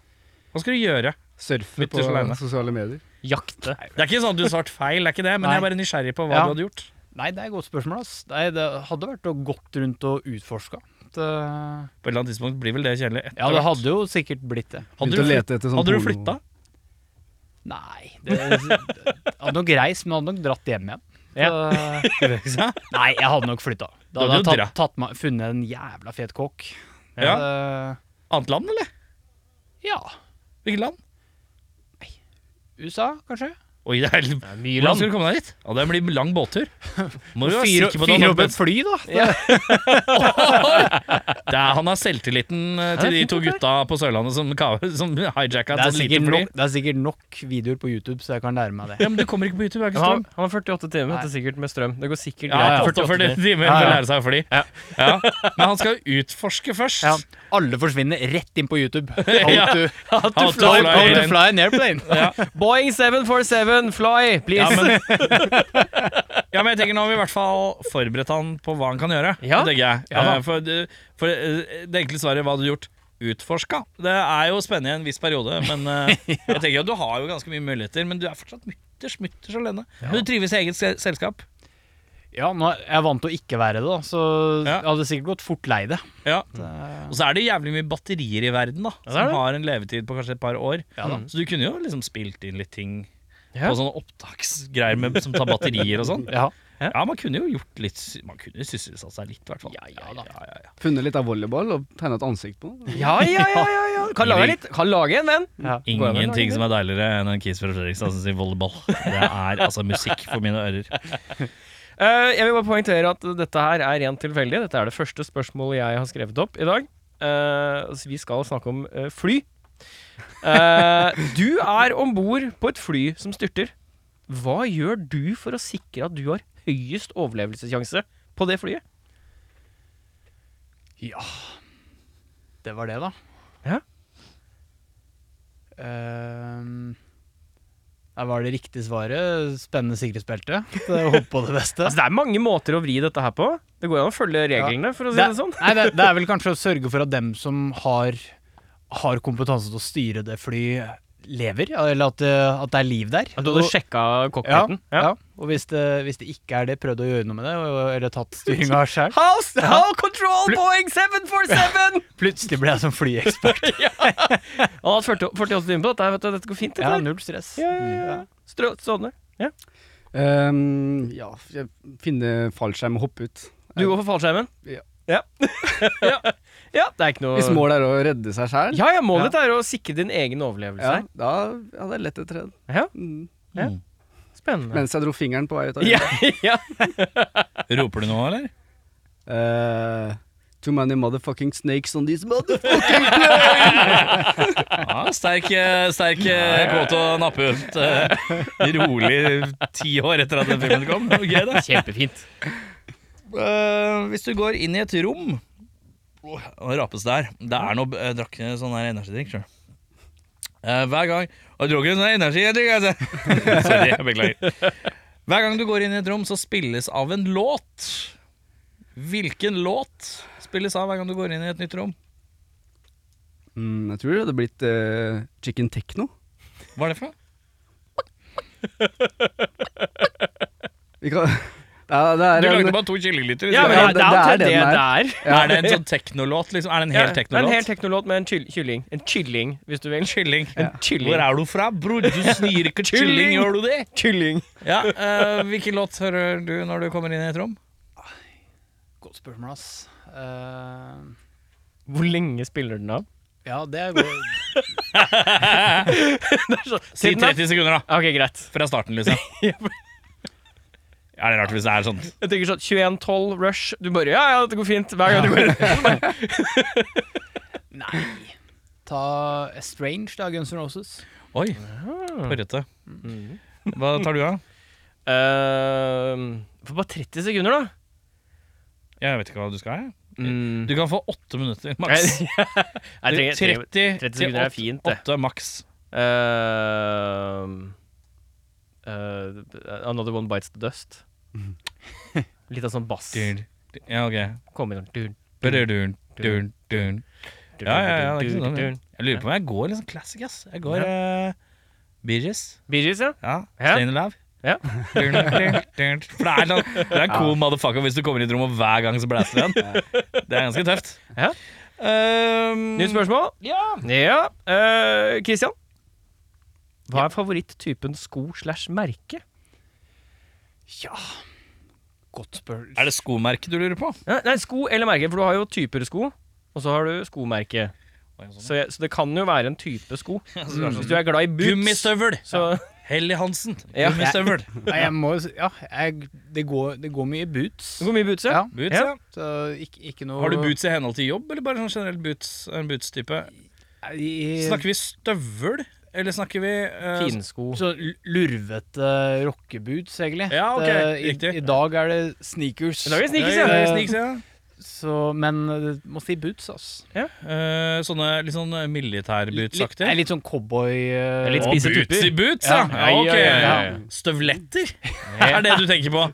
A: Hva skal du gjøre?
D: Surfe
A: Mutters
D: på
A: alene.
D: sosiale medier.
B: Jakte.
A: Det er ikke sånn at du svarte feil, det er ikke det, men
C: Nei.
A: jeg er bare nysgjerrig på hva
C: Ja.
A: du hadde gjort.
C: Nei, det er et godt spørsmål. ass. Nei, det hadde vært å gått rundt og utforska. Det,
A: På et eller annet tidspunkt blir vel det kjedelig. etter
C: ja, det
A: hvert.
C: hadde jo sikkert blitt det.
A: Hadde
D: Begynte å
A: du,
D: lete etter sånn
A: hadde du
D: porno-
A: flytta?
C: Nei. Det, hadde nok reist, men hadde nok dratt hjem igjen. Så-
A: Ja.
C: nei, jeg hadde nok flytta.
A: Du
C: Da
A: hadde
C: hadde jeg
A: jo
C: tatt, tatt meg, funnet en jævla fet kokk.
A: Ja.
C: Det-
A: Annet land, eller?
C: ja.
A: Hvilket land?
C: USA, kanskje?
A: Oi, det er
B: Det er mye
A: Hvordan
B: land.
A: skal du komme deg dit? Ja, det blir lang båttur. Må du være
C: Fyre
A: sikker på at han
C: fyre
A: har
C: opp et
A: bens-
C: fly, da.
A: Det er, han har selvtilliten eh, til de to gutta på Sørlandet som, ka- som hijacka
C: Det er,
A: et sånt lite
C: sikkert
A: fly.
C: nok, det er sikkert nok videoer på YouTube, så jeg kan lære meg det.
A: Ja, men du kommer ikke på YouTube. Det er ikke
B: Han har,
A: strøm.
B: han har 48 timer,
C: Nei.
B: dette er sikkert med strøm. Det går sikkert
A: Ja,
B: greit.
A: 48 timer
C: Ja,
A: for å
C: ja.
A: lære seg å fly. Ja. Men han skal jo utforske først.
C: Ja. Alle forsvinner rett inn på YouTube. How
A: Ja.
C: to,
B: How
A: How
B: to
A: to
B: fly.
A: fly.
C: how to
A: airplane.
C: fly an airplane.
B: Boeing 747, fly,
A: Ja,
B: please.
A: men, ja, men jeg tenker nå har vi i hvert fall forberedt han på hva han kan gjøre.
B: Ja.
A: Det tenker jeg.
B: Ja, da.
A: Eh, for, det- for eh, det enkle svaret hva hadde du gjort? Utforska. Det er jo spennende i en viss periode, men eh, jeg tenker at du har jo ganske mye muligheter. Men du er fortsatt mutters mutters alene. Men du trives i eget se- selskap.
C: Ja, nå er jeg vant til å ikke være det, da, så
A: Ja.
C: jeg hadde sikkert gått fort lei det.
A: Ja. Og så er det jævlig mye batterier i verden da
B: det er
A: som
B: det.
A: har en levetid på kanskje et par år.
B: da.
A: Så du kunne jo liksom spilt inn litt ting
B: Ja.
A: på sånne opptaksgreier med, som tar batterier og sånn.
C: Ja.
A: Ja. man kunne jo gjort litt sy- Man kunne sysselsatt seg litt, i hvert fall. Ja, ja, ja, ja.
D: Funnet litt av volleyball og tegna et ansikt på den.
B: Ja, ja, ja, ja, ja. Kan lage litt. Kan lage en, men.
A: Ingenting som er deiligere enn en kis fra Fredrikstad som sier volleyball. Det er altså musikk for mine ører.
B: Eh, jeg vil bare poengtere at dette her er rent tilfeldig. Dette er det første spørsmålet jeg har skrevet opp i dag. Eh, så vi skal snakke om eh, fly. Eh, du er om bord på et fly som styrter. Hva gjør du for å sikre at du har høyest overlevelsessjanse på det flyet?
C: Ja Det var det, da.
B: Ja.
C: Ehm, ja, var det riktig svaret? Spennende sikkerhetsbelte. Håp på det beste.
B: Altså, det er mange måter å vri dette her på. Det går jo an å følge reglene, for å si det, sånn.
C: Nei, det, det er vel kanskje å sørge for at dem som har, har kompetanse til å styre det fly, lever. ja, Eller at det, at det er liv der.
B: At du hadde
C: Og-
B: sjekka
C: ja,
B: cockpiten?
C: ja. Og hvis det, hvis det ikke er det, prøvde å gjøre noe med det, og- eller tatt styringa sjøl.
B: House, how control Boeing 747!
C: Plutselig ble jeg som flyekspert.
B: Han har hatt 40 48 timer på dette, her, vet du. Dette går fint. Dette.
C: Ja,
B: her.
C: null stress.
B: ja, ja, ja. Strå, Mm. strålende.
D: Ehm, ja, jeg finner fallskjerm og hoppe ut.
B: Du går for fallskjermen?
D: Ja.
B: Ja. ja. Ja, det er ikke noe
D: Hvis målet er å redde seg sjæl,
B: Ja, ja, målet ditt er å sikre din egen overlevelse
D: ja, da hadde jeg lett etter det.
B: her. Ja,
D: Mm.
B: spennende.
D: Mens jeg dro fingeren på vei ut av
B: ja, ja.
A: Roper du nå, eller?
D: Eh, Too many motherfucking snakes on these motherfuckers.
A: Ja, sterk, eh, sterk eh, kåt å nappe ut. eh, Rolig ti år etter at den filmen kom. Det var Gøy, det.
B: Kjempefint.
A: Eh, hvis du går inn i et rom Åh, Nå rapes det her. Det er noe Jeg drakk sånn her energidrikk, sjøl. hver gang Og jeg drakk en sånn energidrikk, altså. Sorry, jeg beklager. Hver gang du går inn i et rom, så spilles av en låt. Hvilken låt spilles av hver gang du går inn i et nytt rom?
D: Mm, jeg tror det hadde blitt eh, chicken techno.
A: Hva er det for noe?
D: Vi kan, det er, det
A: Du
D: er
A: lagde
D: en,
A: bare to kyllinglytter.
B: Ja, men
D: Ja,
B: det, det er
D: det
B: det
D: er den
B: det er.
A: er det en sånn teknolåt, liksom? Er det en
B: Ja,
A: hel
B: det er en
A: teknolåt?
B: hel teknolåt med en kyll- kylling. En kylling, hvis du vil.
A: Kylling.
B: En kylling.
A: Hvor er du fra, bror? Du snir ikke
B: Kylling.
A: kylling, gjør du det?
B: Kylling.
A: Ja, eh, Hvilken låt hører du når du kommer inn i et rom?
C: Godt spørsmål, ass. Eh,
B: Hvor lenge spiller den av?
C: ja, det er godt.
A: Si
B: den da.
A: 30 sekunder, da.
B: Ok, greit.
A: Fra starten, liksom. Ja, det er rart hvis det er sånn.
B: Jeg tenker sånn 21-12 Rush. Du bare Ja, ja, dette går fint. Hver gang du går
C: Ta Estrange, da, Guns N' Roses.
A: Oi, hårete.
B: Mhm.
A: Hva tar du av?
B: Ehm, For bare 30 sekunder, da.
A: Jeg vet ikke hva du skal ha. jeg.
B: Mm.
A: Du kan få åtte minutter,
B: Jeg,
A: maks.
B: jeg trenger, trenger
A: 30,
B: 30 sekunder er fint, det.
A: Åtte maks.
B: Ehm, eh, Another One Bites The Dust.
A: Mm.
B: Litt av sånn bass.
A: Ja, ok.
B: Kom igjen. Dun,
A: Badadun, dun, dun.
B: dun,
A: Ja, ja, ja, det er
B: dun,
A: ikke
B: dun,
A: sånn.
B: dun.
A: Jeg lurer på om jeg går liksom classic, ass. Jeg går uh, Bee Gees.
B: Bee Gees, ja.
A: Ja.
B: Ja.
A: Stayin' Alive.
B: Ja.
A: Dun, dun, dun. For det er, sånn, det er en cool motherfucker hvis du kommer i et rom og hver gang så blæser den. Det er ganske tøft.
B: Ja.
A: Ehm,
B: Nytt spørsmål?
A: Ja.
B: Ja. eh, Christian? Hva er favoritt-typen sko slash merke?
C: Godt spørsmål.
A: Er det skomerket du lurer på?
B: Nei, nei, sko eller merke, for du har jo typer sko, og så har du skomerke. Så, jeg, så det kan jo være en type sko. Mm.
A: sånn
B: Hvis du er glad i boots,
A: Gummistøvel!
B: så
A: Helly Hansen.
B: Ja.
A: Gummistøvel.
C: Nei, jeg må jo si Ja, jeg, det, går, det går mye boots.
B: Det går mye boots, ja.
C: Ja.
A: Boots,
B: Ja.
A: ja.
C: Så ikke, ikke noe
A: Har du boots i henhold til jobb, eller bare sånn generell boots, en boots-type?
C: I,
A: Snakker vi støvel, eller snakker vi eh,
B: Finsko.
C: så l- lurvete rockeboots, egentlig.
A: Ja, ok,
C: det,
A: riktig.
C: i, I dag er det sneakers.
B: I dag er det sneakers,
A: Ja,
B: ja.
A: ja,
C: Eh,
A: sneaks, ja.
C: Så, men det må si boots, ass.
A: Eh, sånne litt sånn
C: Litt,
A: militærbootsaktige?
C: er litt sånn cowboy
B: er
C: eh,
B: litt
A: Å,
B: spisetyper.
A: boots i boots, ja.
B: Ja, ja,
A: ok.
B: ja, ja, ja.
A: Støvletter er det du tenker på.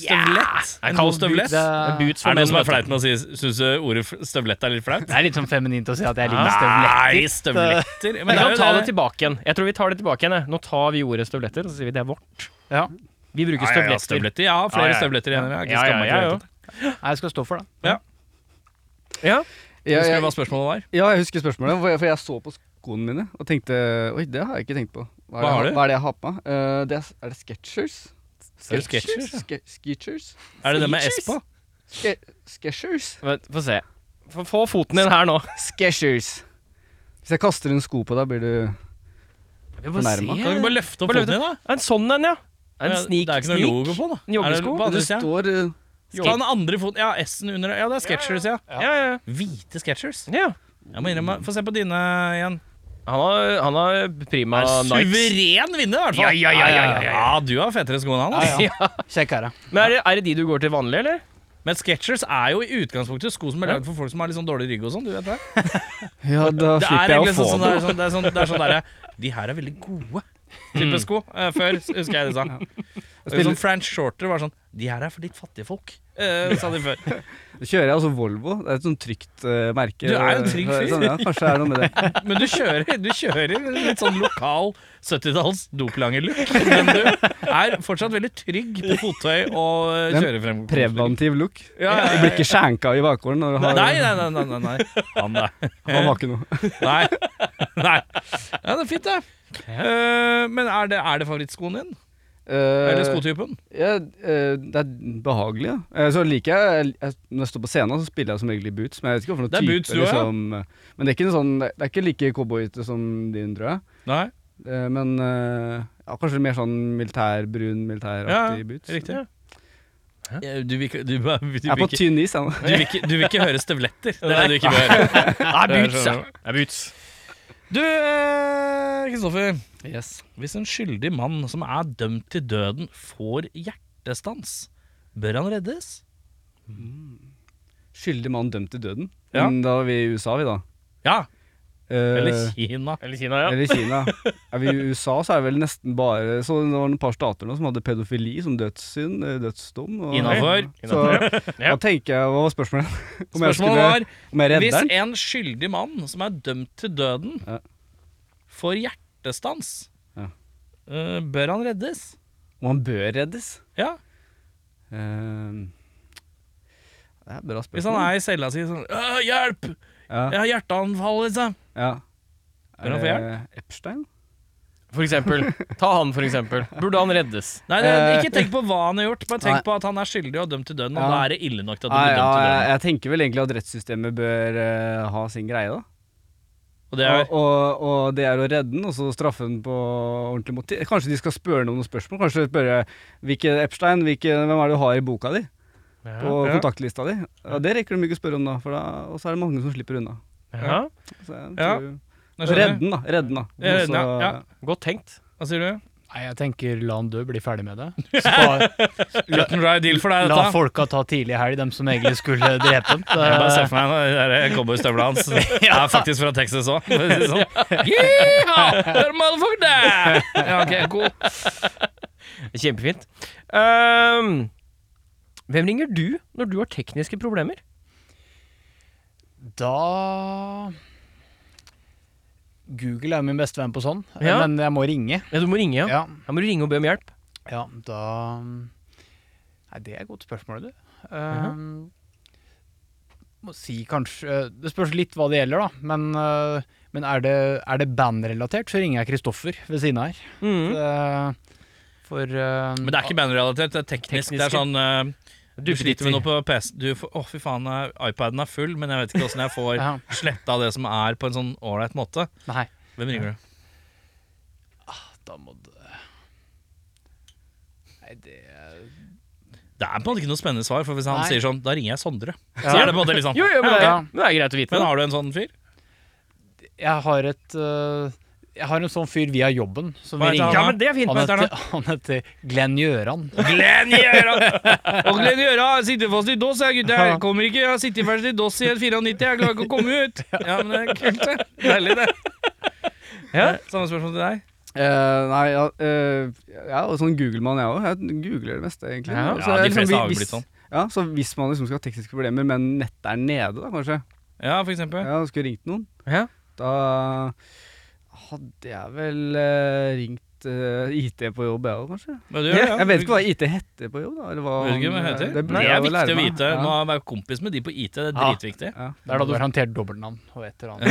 A: Støvlett.
B: Jeg
A: En
B: kaller
A: god støvlett.
C: det
A: Er
B: Det er boots for
A: det noen som
B: menn,
A: er fleit med å si Syns du ordet f- støvlett er litt flaut?
C: Det er litt sånn feminint å si at jeg liker støvletter.
A: Nei, støvletter
B: Vi
A: Men
B: kan
A: er jo
B: ta det tilbake igjen. Jeg tror vi tar det tilbake igjen. jeg. Nå tar vi ordet støvletter, og så sier vi det er vårt.
C: Ja.
B: Vi
A: Ja, ja,
B: bruker
A: ja,
B: støvletter.
A: støvletter. Ja, flere
B: Ja, ja, ja.
A: støvletter igjen. Jeg har ikke
B: Ja, ja,
A: skammet
B: ja,
A: meg
B: ja.
A: til det.
C: Nei, jeg skal stå for det.
B: Ja.
D: ja,
A: Husker
D: jeg,
A: du hva spørsmålet var?
D: ja, jeg husker spørsmålet, for jeg, for jeg så på skoene mine og tenkte Oi, det har jeg ikke tenkt på. Hva er,
A: Hva har
D: det,
A: du?
D: hva er det jeg har på meg? Eh, det er, er det Sketchers?
A: Er det Skechers, ja?
D: Sketchers?
A: Er det det med S på?
D: Sketchers?
B: Vent, Få se. Få, få foten din her nå.
D: Skechers. Hvis jeg kaster en sko på deg, blir du Fornærma.
A: Kan du ikke bare løfte opp
B: Bare
A: foten din, da?
B: En sånn en, ja. En
A: Ja,
B: sneak.
A: det er ikke noe
B: sneak.
A: logo på, da.
B: En
A: Er
B: joggesko.
A: det- hva
D: Det
A: andre sida?
D: står eh,
A: Ta den andre foten Ja, S-en under Ja, det er Skechers, ja.
B: Ja, ja,
A: Hvite Skechers.
B: ja.
A: Jeg må innrømme Få se på dine igjen.
B: Han har, han har prima Nikes.
A: Suveren vinner, i hvert fall. Ja, ja, ja, ja, ja. du har fetere sko enn han. ass.
C: Kjekk herre.
B: Men er det, er det de du går til vanlig, eller?
A: Men Skechers er jo i utgangspunktet sko som er lagd for folk som har litt sånn dårlig rygg og sånn. du vet det?
D: Ja, da
A: Det er
D: slipper jeg
A: egentlig
D: å få
A: sånn, sånn,
D: det.
A: det er sånn, det er sånn, det er sånn derre De her er veldig gode type sko. Eh, før husker jeg de sa. Det er Sånn French Shorter var sånn De her er for litt fattige folk, eh, sa de før.
D: Da kjører jeg altså Volvo. Det er et sånn trygt eh, merke.
A: Du er jo en trygg fyr.
D: Sånn, ja, kanskje det er noe med det.
A: Men du kjører, du kjører litt sånn lokal 70-talls Dopelanger-look. Men du er fortsatt veldig trygg på fottøy og eh,
D: Den
A: kjørefrem.
D: Preventiv look.
A: Ja, ja,
D: Du
A: ja.
D: blir ikke skjenka i bakgården når du
A: Nei,
D: har
A: nei, nei. nei, nei, nei. Han der.
D: Han var ikke noe.
A: Nei. Nei. Ja, det er fint, det. Eh, men er det, er det favorittskoen din? Eller
D: Eh,
A: skotypen?
D: ja, eh, det er behagelig, ja. Eh, så liker jeg, jeg Når jeg står på scenen, så spiller jeg som regel i boots. Men jeg vet ikke hva for noe
A: Det er
D: type,
A: boots du har, ja.
D: liksom. Men det er ikke noe sånn Det er ikke like cowboyete som din, tror jeg.
A: Nei,
D: Eh, men eh, ja, kanskje mer sånn militærbrun, militæraktig
A: Ja,
D: boots.
A: riktig. Eh, Du vil ikke Du, vil- du,
D: Jeg er
A: vil,
D: på
A: ikke,
D: tynn is, jeg nå.
A: du, vil, ikke, du vil ikke høre støvletter. Det er det du ikke vil høre.
B: Nei, boots, ja.
A: skjønner
B: Nei, boots.
A: Du, eh, Kristoffer.
D: Yes.
A: Hvis en skyldig mann som er dømt til døden, får hjertestans, bør han reddes?
D: Skyldig mann dømt til døden.
A: Ja.
D: Men da er vi i USA, vi, da.
A: Ja.
D: Eh,
A: Eller Kina.
B: Eller Kina, ja.
D: Eller Kina. Er vi I USA så er det vel nesten bare Så det var et par stater nå som hadde pedofili som dødssynd, eh, dødsdom. og-
A: Innafor.
D: Så
B: Ja.
D: da tenker jeg Hva var spørsmålet? Om jeg
A: Spørsmålet var
D: skulle- om jeg redder
A: Hvis
D: den?
A: en skyldig mann som er dømt til døden,
D: Ja.
A: får hjertestans,
D: Ja.
A: eh, bør han reddes?
D: Om han bør reddes?
A: Ja,
D: Eh, det er et bra spørsmål.
A: Hvis han er i cella si sånn «Åh, 'Hjelp!
D: ja,
A: Jeg har hjerteanfall', liksom.
D: ja.
A: Bør han få
D: Er det Epstein?
B: For eksempel. Ta han, for eksempel. Burde han reddes?
A: Nei, det,
D: Eh.
A: ikke tenk på hva han har gjort, bare tenk
D: Nei.
A: på at han er skyldig og dømt til døden. Og
D: Ja.
A: da er det ille nok til at du
D: Nei,
A: blir dømt til
D: ja,
A: døden.
D: jeg, jeg tenker vel egentlig at rettssystemet bør eh, ha sin greie, da.
A: Og det er,
D: Og, og, og det er å redde den, og så straffe den på ordentlig måte. Kanskje de skal spørre noen noen spørsmål? Kanskje spørre hvilke Epstein, hvilke, hvem er det du har i boka di? På kontaktlista di? Ja, det rekker de ikke å spørre om, da. For da og så er det mange som slipper unna.
B: Ja.
D: Så jeg
A: Ja,
D: tror-
A: Nå skjønner
D: Redde
A: jeg.
D: den, da. Redde den, da.
A: Ja, redde den,
D: Og så-
A: ja, ja.
B: Godt tenkt.
A: Hva sier du?
C: Nei, jeg tenker la han dø, bli ferdig med det. Spar,
A: Cut and dry deal for deg,
C: la
A: dette.
C: folka ta tidlig helg, dem som egentlig skulle drepe ham.
A: Jeg bare ser for meg de der cowboystøvlene hans. Jeg er faktisk fra Texas òg. Sånn. Yeehaw, motherfucker! Ja, ok, cool.
B: Kjempefint. Ehm, hvem ringer du når du har tekniske problemer?
C: Da Google er min beste venn på sånn,
B: Ja.
C: men jeg må ringe.
B: Ja, du må ringe, ja.
C: Ja,
B: Da må du ringe og be om hjelp.
C: ja da Nei, det er et godt spørsmål, du.
A: Mhm.
C: Um, må si kanskje Det spørs litt hva det gjelder, da. Men, uh, men er det, er det bandrelatert, så ringer jeg Kristoffer ved siden av her.
B: Mm.
C: Det, for uh,
A: Mhm. Men det er ikke bandrelatert, det er teknisk. Det er
B: Tekniske.
A: sånn eh, Du sliter med
B: sliter.
A: noe på PC Du får- Å, fy faen, eh, iPaden er full, men jeg vet ikke åssen jeg får
C: Ja,
A: sletta det som er, på en sånn ålreit måte.
C: nei.
A: Hvem ringer du?
C: Da må det Nei, det
A: Det er på en måte ikke noe spennende svar, for hvis han
C: Nei.
A: sier sånn, da ringer jeg Sondre. Så er det på en måte litt sånn.
B: Jo, jo, men, det
C: Ja.
B: er, men det er greit å vite.
A: Men
B: det.
A: har du en sånn fyr?
C: Jeg har et øh, Jeg har en sånn fyr via jobben som
A: Hva
C: vi
A: heter han
C: ringer.
A: da?
B: Ja, men det er fint.
C: Han
B: men det er
C: heter, han heter Glenn Gjøran.
A: Glenn Gjøra! Og Glenn Gjøra sitter fast i DOS, jeg, gutter. Jeg kommer ikke. Jeg har sittet fast i DOS siden 94. Jeg klarer ikke å komme ut. Ja, men det er kult, det. Deilig, det. Ja, Samme spørsmål til deg.
D: Eh, nei, ja, eh, jeg er jo sånn Google-mann, jeg òg. Jeg googler det meste,
B: Ja.
D: egentlig. Så
A: Ja,
D: jeg liksom
A: de fleste
D: vi-
A: har jo
D: hvis-
A: blitt sånn.
D: Ja, Så hvis man liksom skal ha tekniske problemer, men nettet er nede, da kanskje
A: Ja, for eksempel.
D: Ja, skulle ringt noen.
B: Ja.
D: Da hadde jeg vel eh, ringt eh, IT på jobb, jeg òg, kanskje.
A: Hva du gjør, ja.
D: Jeg vet ikke hva IT heter på jobb, da. Eller hva
A: Vet du ikke hva det heter? Det,
D: burde
A: er
D: jeg jo lære
A: viktig å
D: meg.
A: vite.
D: Ja.
A: Må være kompis med de på IT. Det er
C: Ja.
A: dritviktig.
D: Ja.
C: Det er da du har håndtert dobbeltnavn og et eller annet.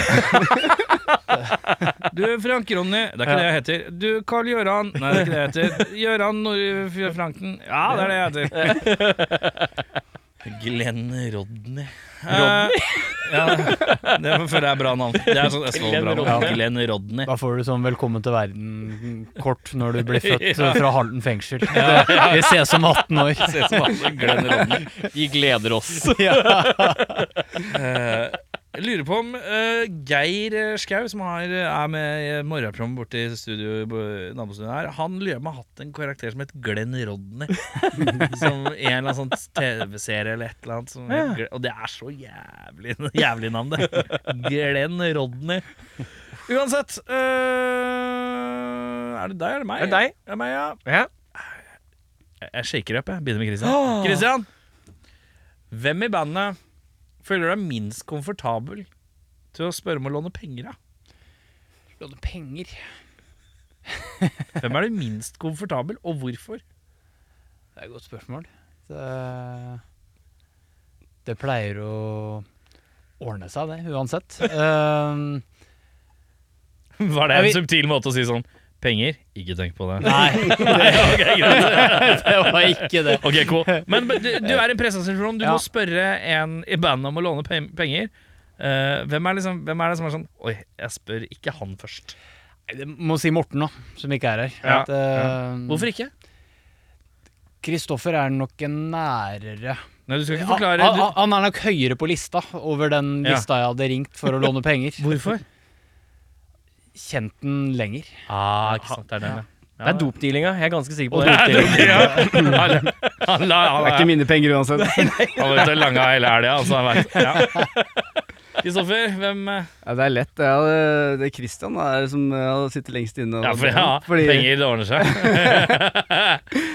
A: Du, Frank Ronny. Det er ikke det jeg heter. Du, Carl Gjøran. Nei, det er ikke det jeg heter. Gjøran Nord- Franken. Ja, det er det jeg heter. Glenn Rodney. Rodney? ja, det føler jeg er bra navn. Det er sånn Østfold-bra navn. Glenn Rodney.
C: Da får du sånn 'velkommen til verden'-kort når du blir født
A: Ja.
C: øh, fra Halden fengsel. Vi ses om 18 år.
A: Ser ut som han- Glenn Rodney.
B: Vi gleder oss.
A: Eh, Jeg lurer på om eh, Geir eh, Skau, som har, er med i morgenprogrammet borti studio, bo- nabostudioet her, han lurer på om han har hatt en karakter som het Glenn Rodney. som i en eller annen sånn TV-serie eller et eller annet. Som het Glenn- Og det er så jævlig, jævlig navn, det. Glenn Rodney. Uansett eh, Er det deg, er det meg?
B: Er det deg?
A: Er det meg, ja.
B: Ja.
A: Jeg- Jeg shaker opp, jeg. Begynner med Christian. Christian! Hvem i bandet føler du deg minst komfortabel til å spørre om å låne penger av?
C: Låne penger?
A: Hvem er du minst komfortabel, og hvorfor?
C: Det er et godt spørsmål. Det, det pleier å ordne seg, det, uansett. Ehm,
A: Var det
C: Jeg
A: en
C: vil-
A: subtil måte å si sånn Penger? Ikke tenk på det.
C: nei,
A: Ok, greit.
C: det var ikke det.
A: Ok, cool. Men men du, du er i en prestasjonsrom. Du
C: Ja.
A: må spørre en i bandet om å låne pe- penger. Eh, hvem, er liksom, hvem er det som er sånn Oi, jeg spør ikke han først.
C: Nei, det må si Morten, da, som ikke er her.
A: Ja,
C: At, ehm,
A: Hvorfor ikke?
C: Kristoffer er nok en nærere
A: Nei, du skal ikke
C: han,
A: forklare.
C: han, han er nok høyere på lista over den
A: Ja.
C: lista jeg hadde ringt for å låne penger.
A: Du, hvorfor?
C: Kjent den lenger.
A: Ah, ikke sant, det er den, ja. Ja,
B: Det er
A: ja.
B: dopdealinga. Jeg er ganske sikker på
A: Det
B: det.
A: er dumt, ja. Han la- han la- han
D: Det er
A: la-
D: ikke mine penger uansett.
A: han var ute og langa hele helga, altså. Han vet. Ja. Kristoffer, hvem eh,
D: Ja, det er lett. Det er, eh, det er Christian da, er det som eh, sitter lengst inne. og-
A: Ja, for, ja
D: Fordi-
A: penger, det ordner seg.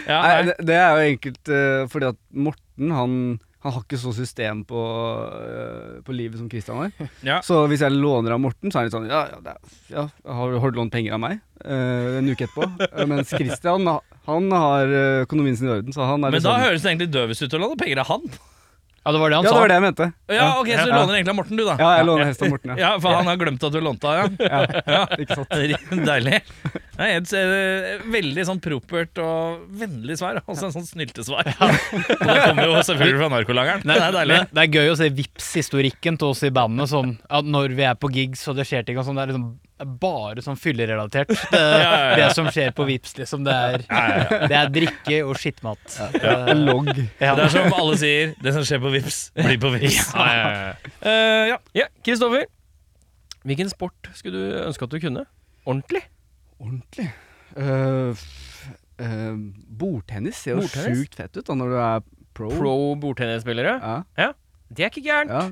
A: ja,
D: Nei,
A: nei.
D: det, det er jo enkelt eh, fordi at Morten han, han har ikke så system på, eh, på livet som Christian har.
A: Ja.
D: Så hvis jeg låner av Morten, så er han litt sånn Ja, ja, det er, ja har, har du lånt penger av meg? Eh, en uke etterpå. Eh, Mens Christian han har eh, økonomien sin i orden, så han er
A: Men
D: litt
A: da
D: sånn
A: høres det egentlig døvest ut å låne penger av han.
C: Ja, det var det han
D: Ja, det
C: sa.
D: var det jeg mente.
A: Ja, ok, Så du
D: Ja.
A: låner egentlig av Morten, du, da?
D: Ja, jeg låner hest av Morten, ja.
A: Ja, For han har glemt at du lånte av ham?
D: ja.
A: Ja.
D: Ikke sant.
A: Deilig. Nei, et, eh, veldig sånn propert og vennlig svar. Også en sånn snyltesvar. Det kommer jo selvfølgelig fra narkolangeren. Det er deilig.
C: Men det er gøy å se Vipps-historikken til oss i bandet. Sånn, at når vi er på gigs og det skjer ting og sånn, det er liksom det er bare sånn fyllerelatert. Det,
A: ja, ja.
C: det som skjer på Vipps, liksom. Det er, det er drikke og skittmat. Eh,
D: Logg.
C: ja.
A: Det er som alle sier, det som skjer på Vips, blir på Vips. Ja, ja, ja.
B: Eh, ja. ja, Kristoffer. Hvilken sport skulle du ønske at du kunne? Ordentlig?
D: Ordentlig. Eh, f- eh, bordtennis ser jo
B: Bordtennis?
D: sjukt fett ut da når du er pro.
B: Pro bordtennisspillere?
D: Ja,
B: Det er ikke gærent.
D: ja.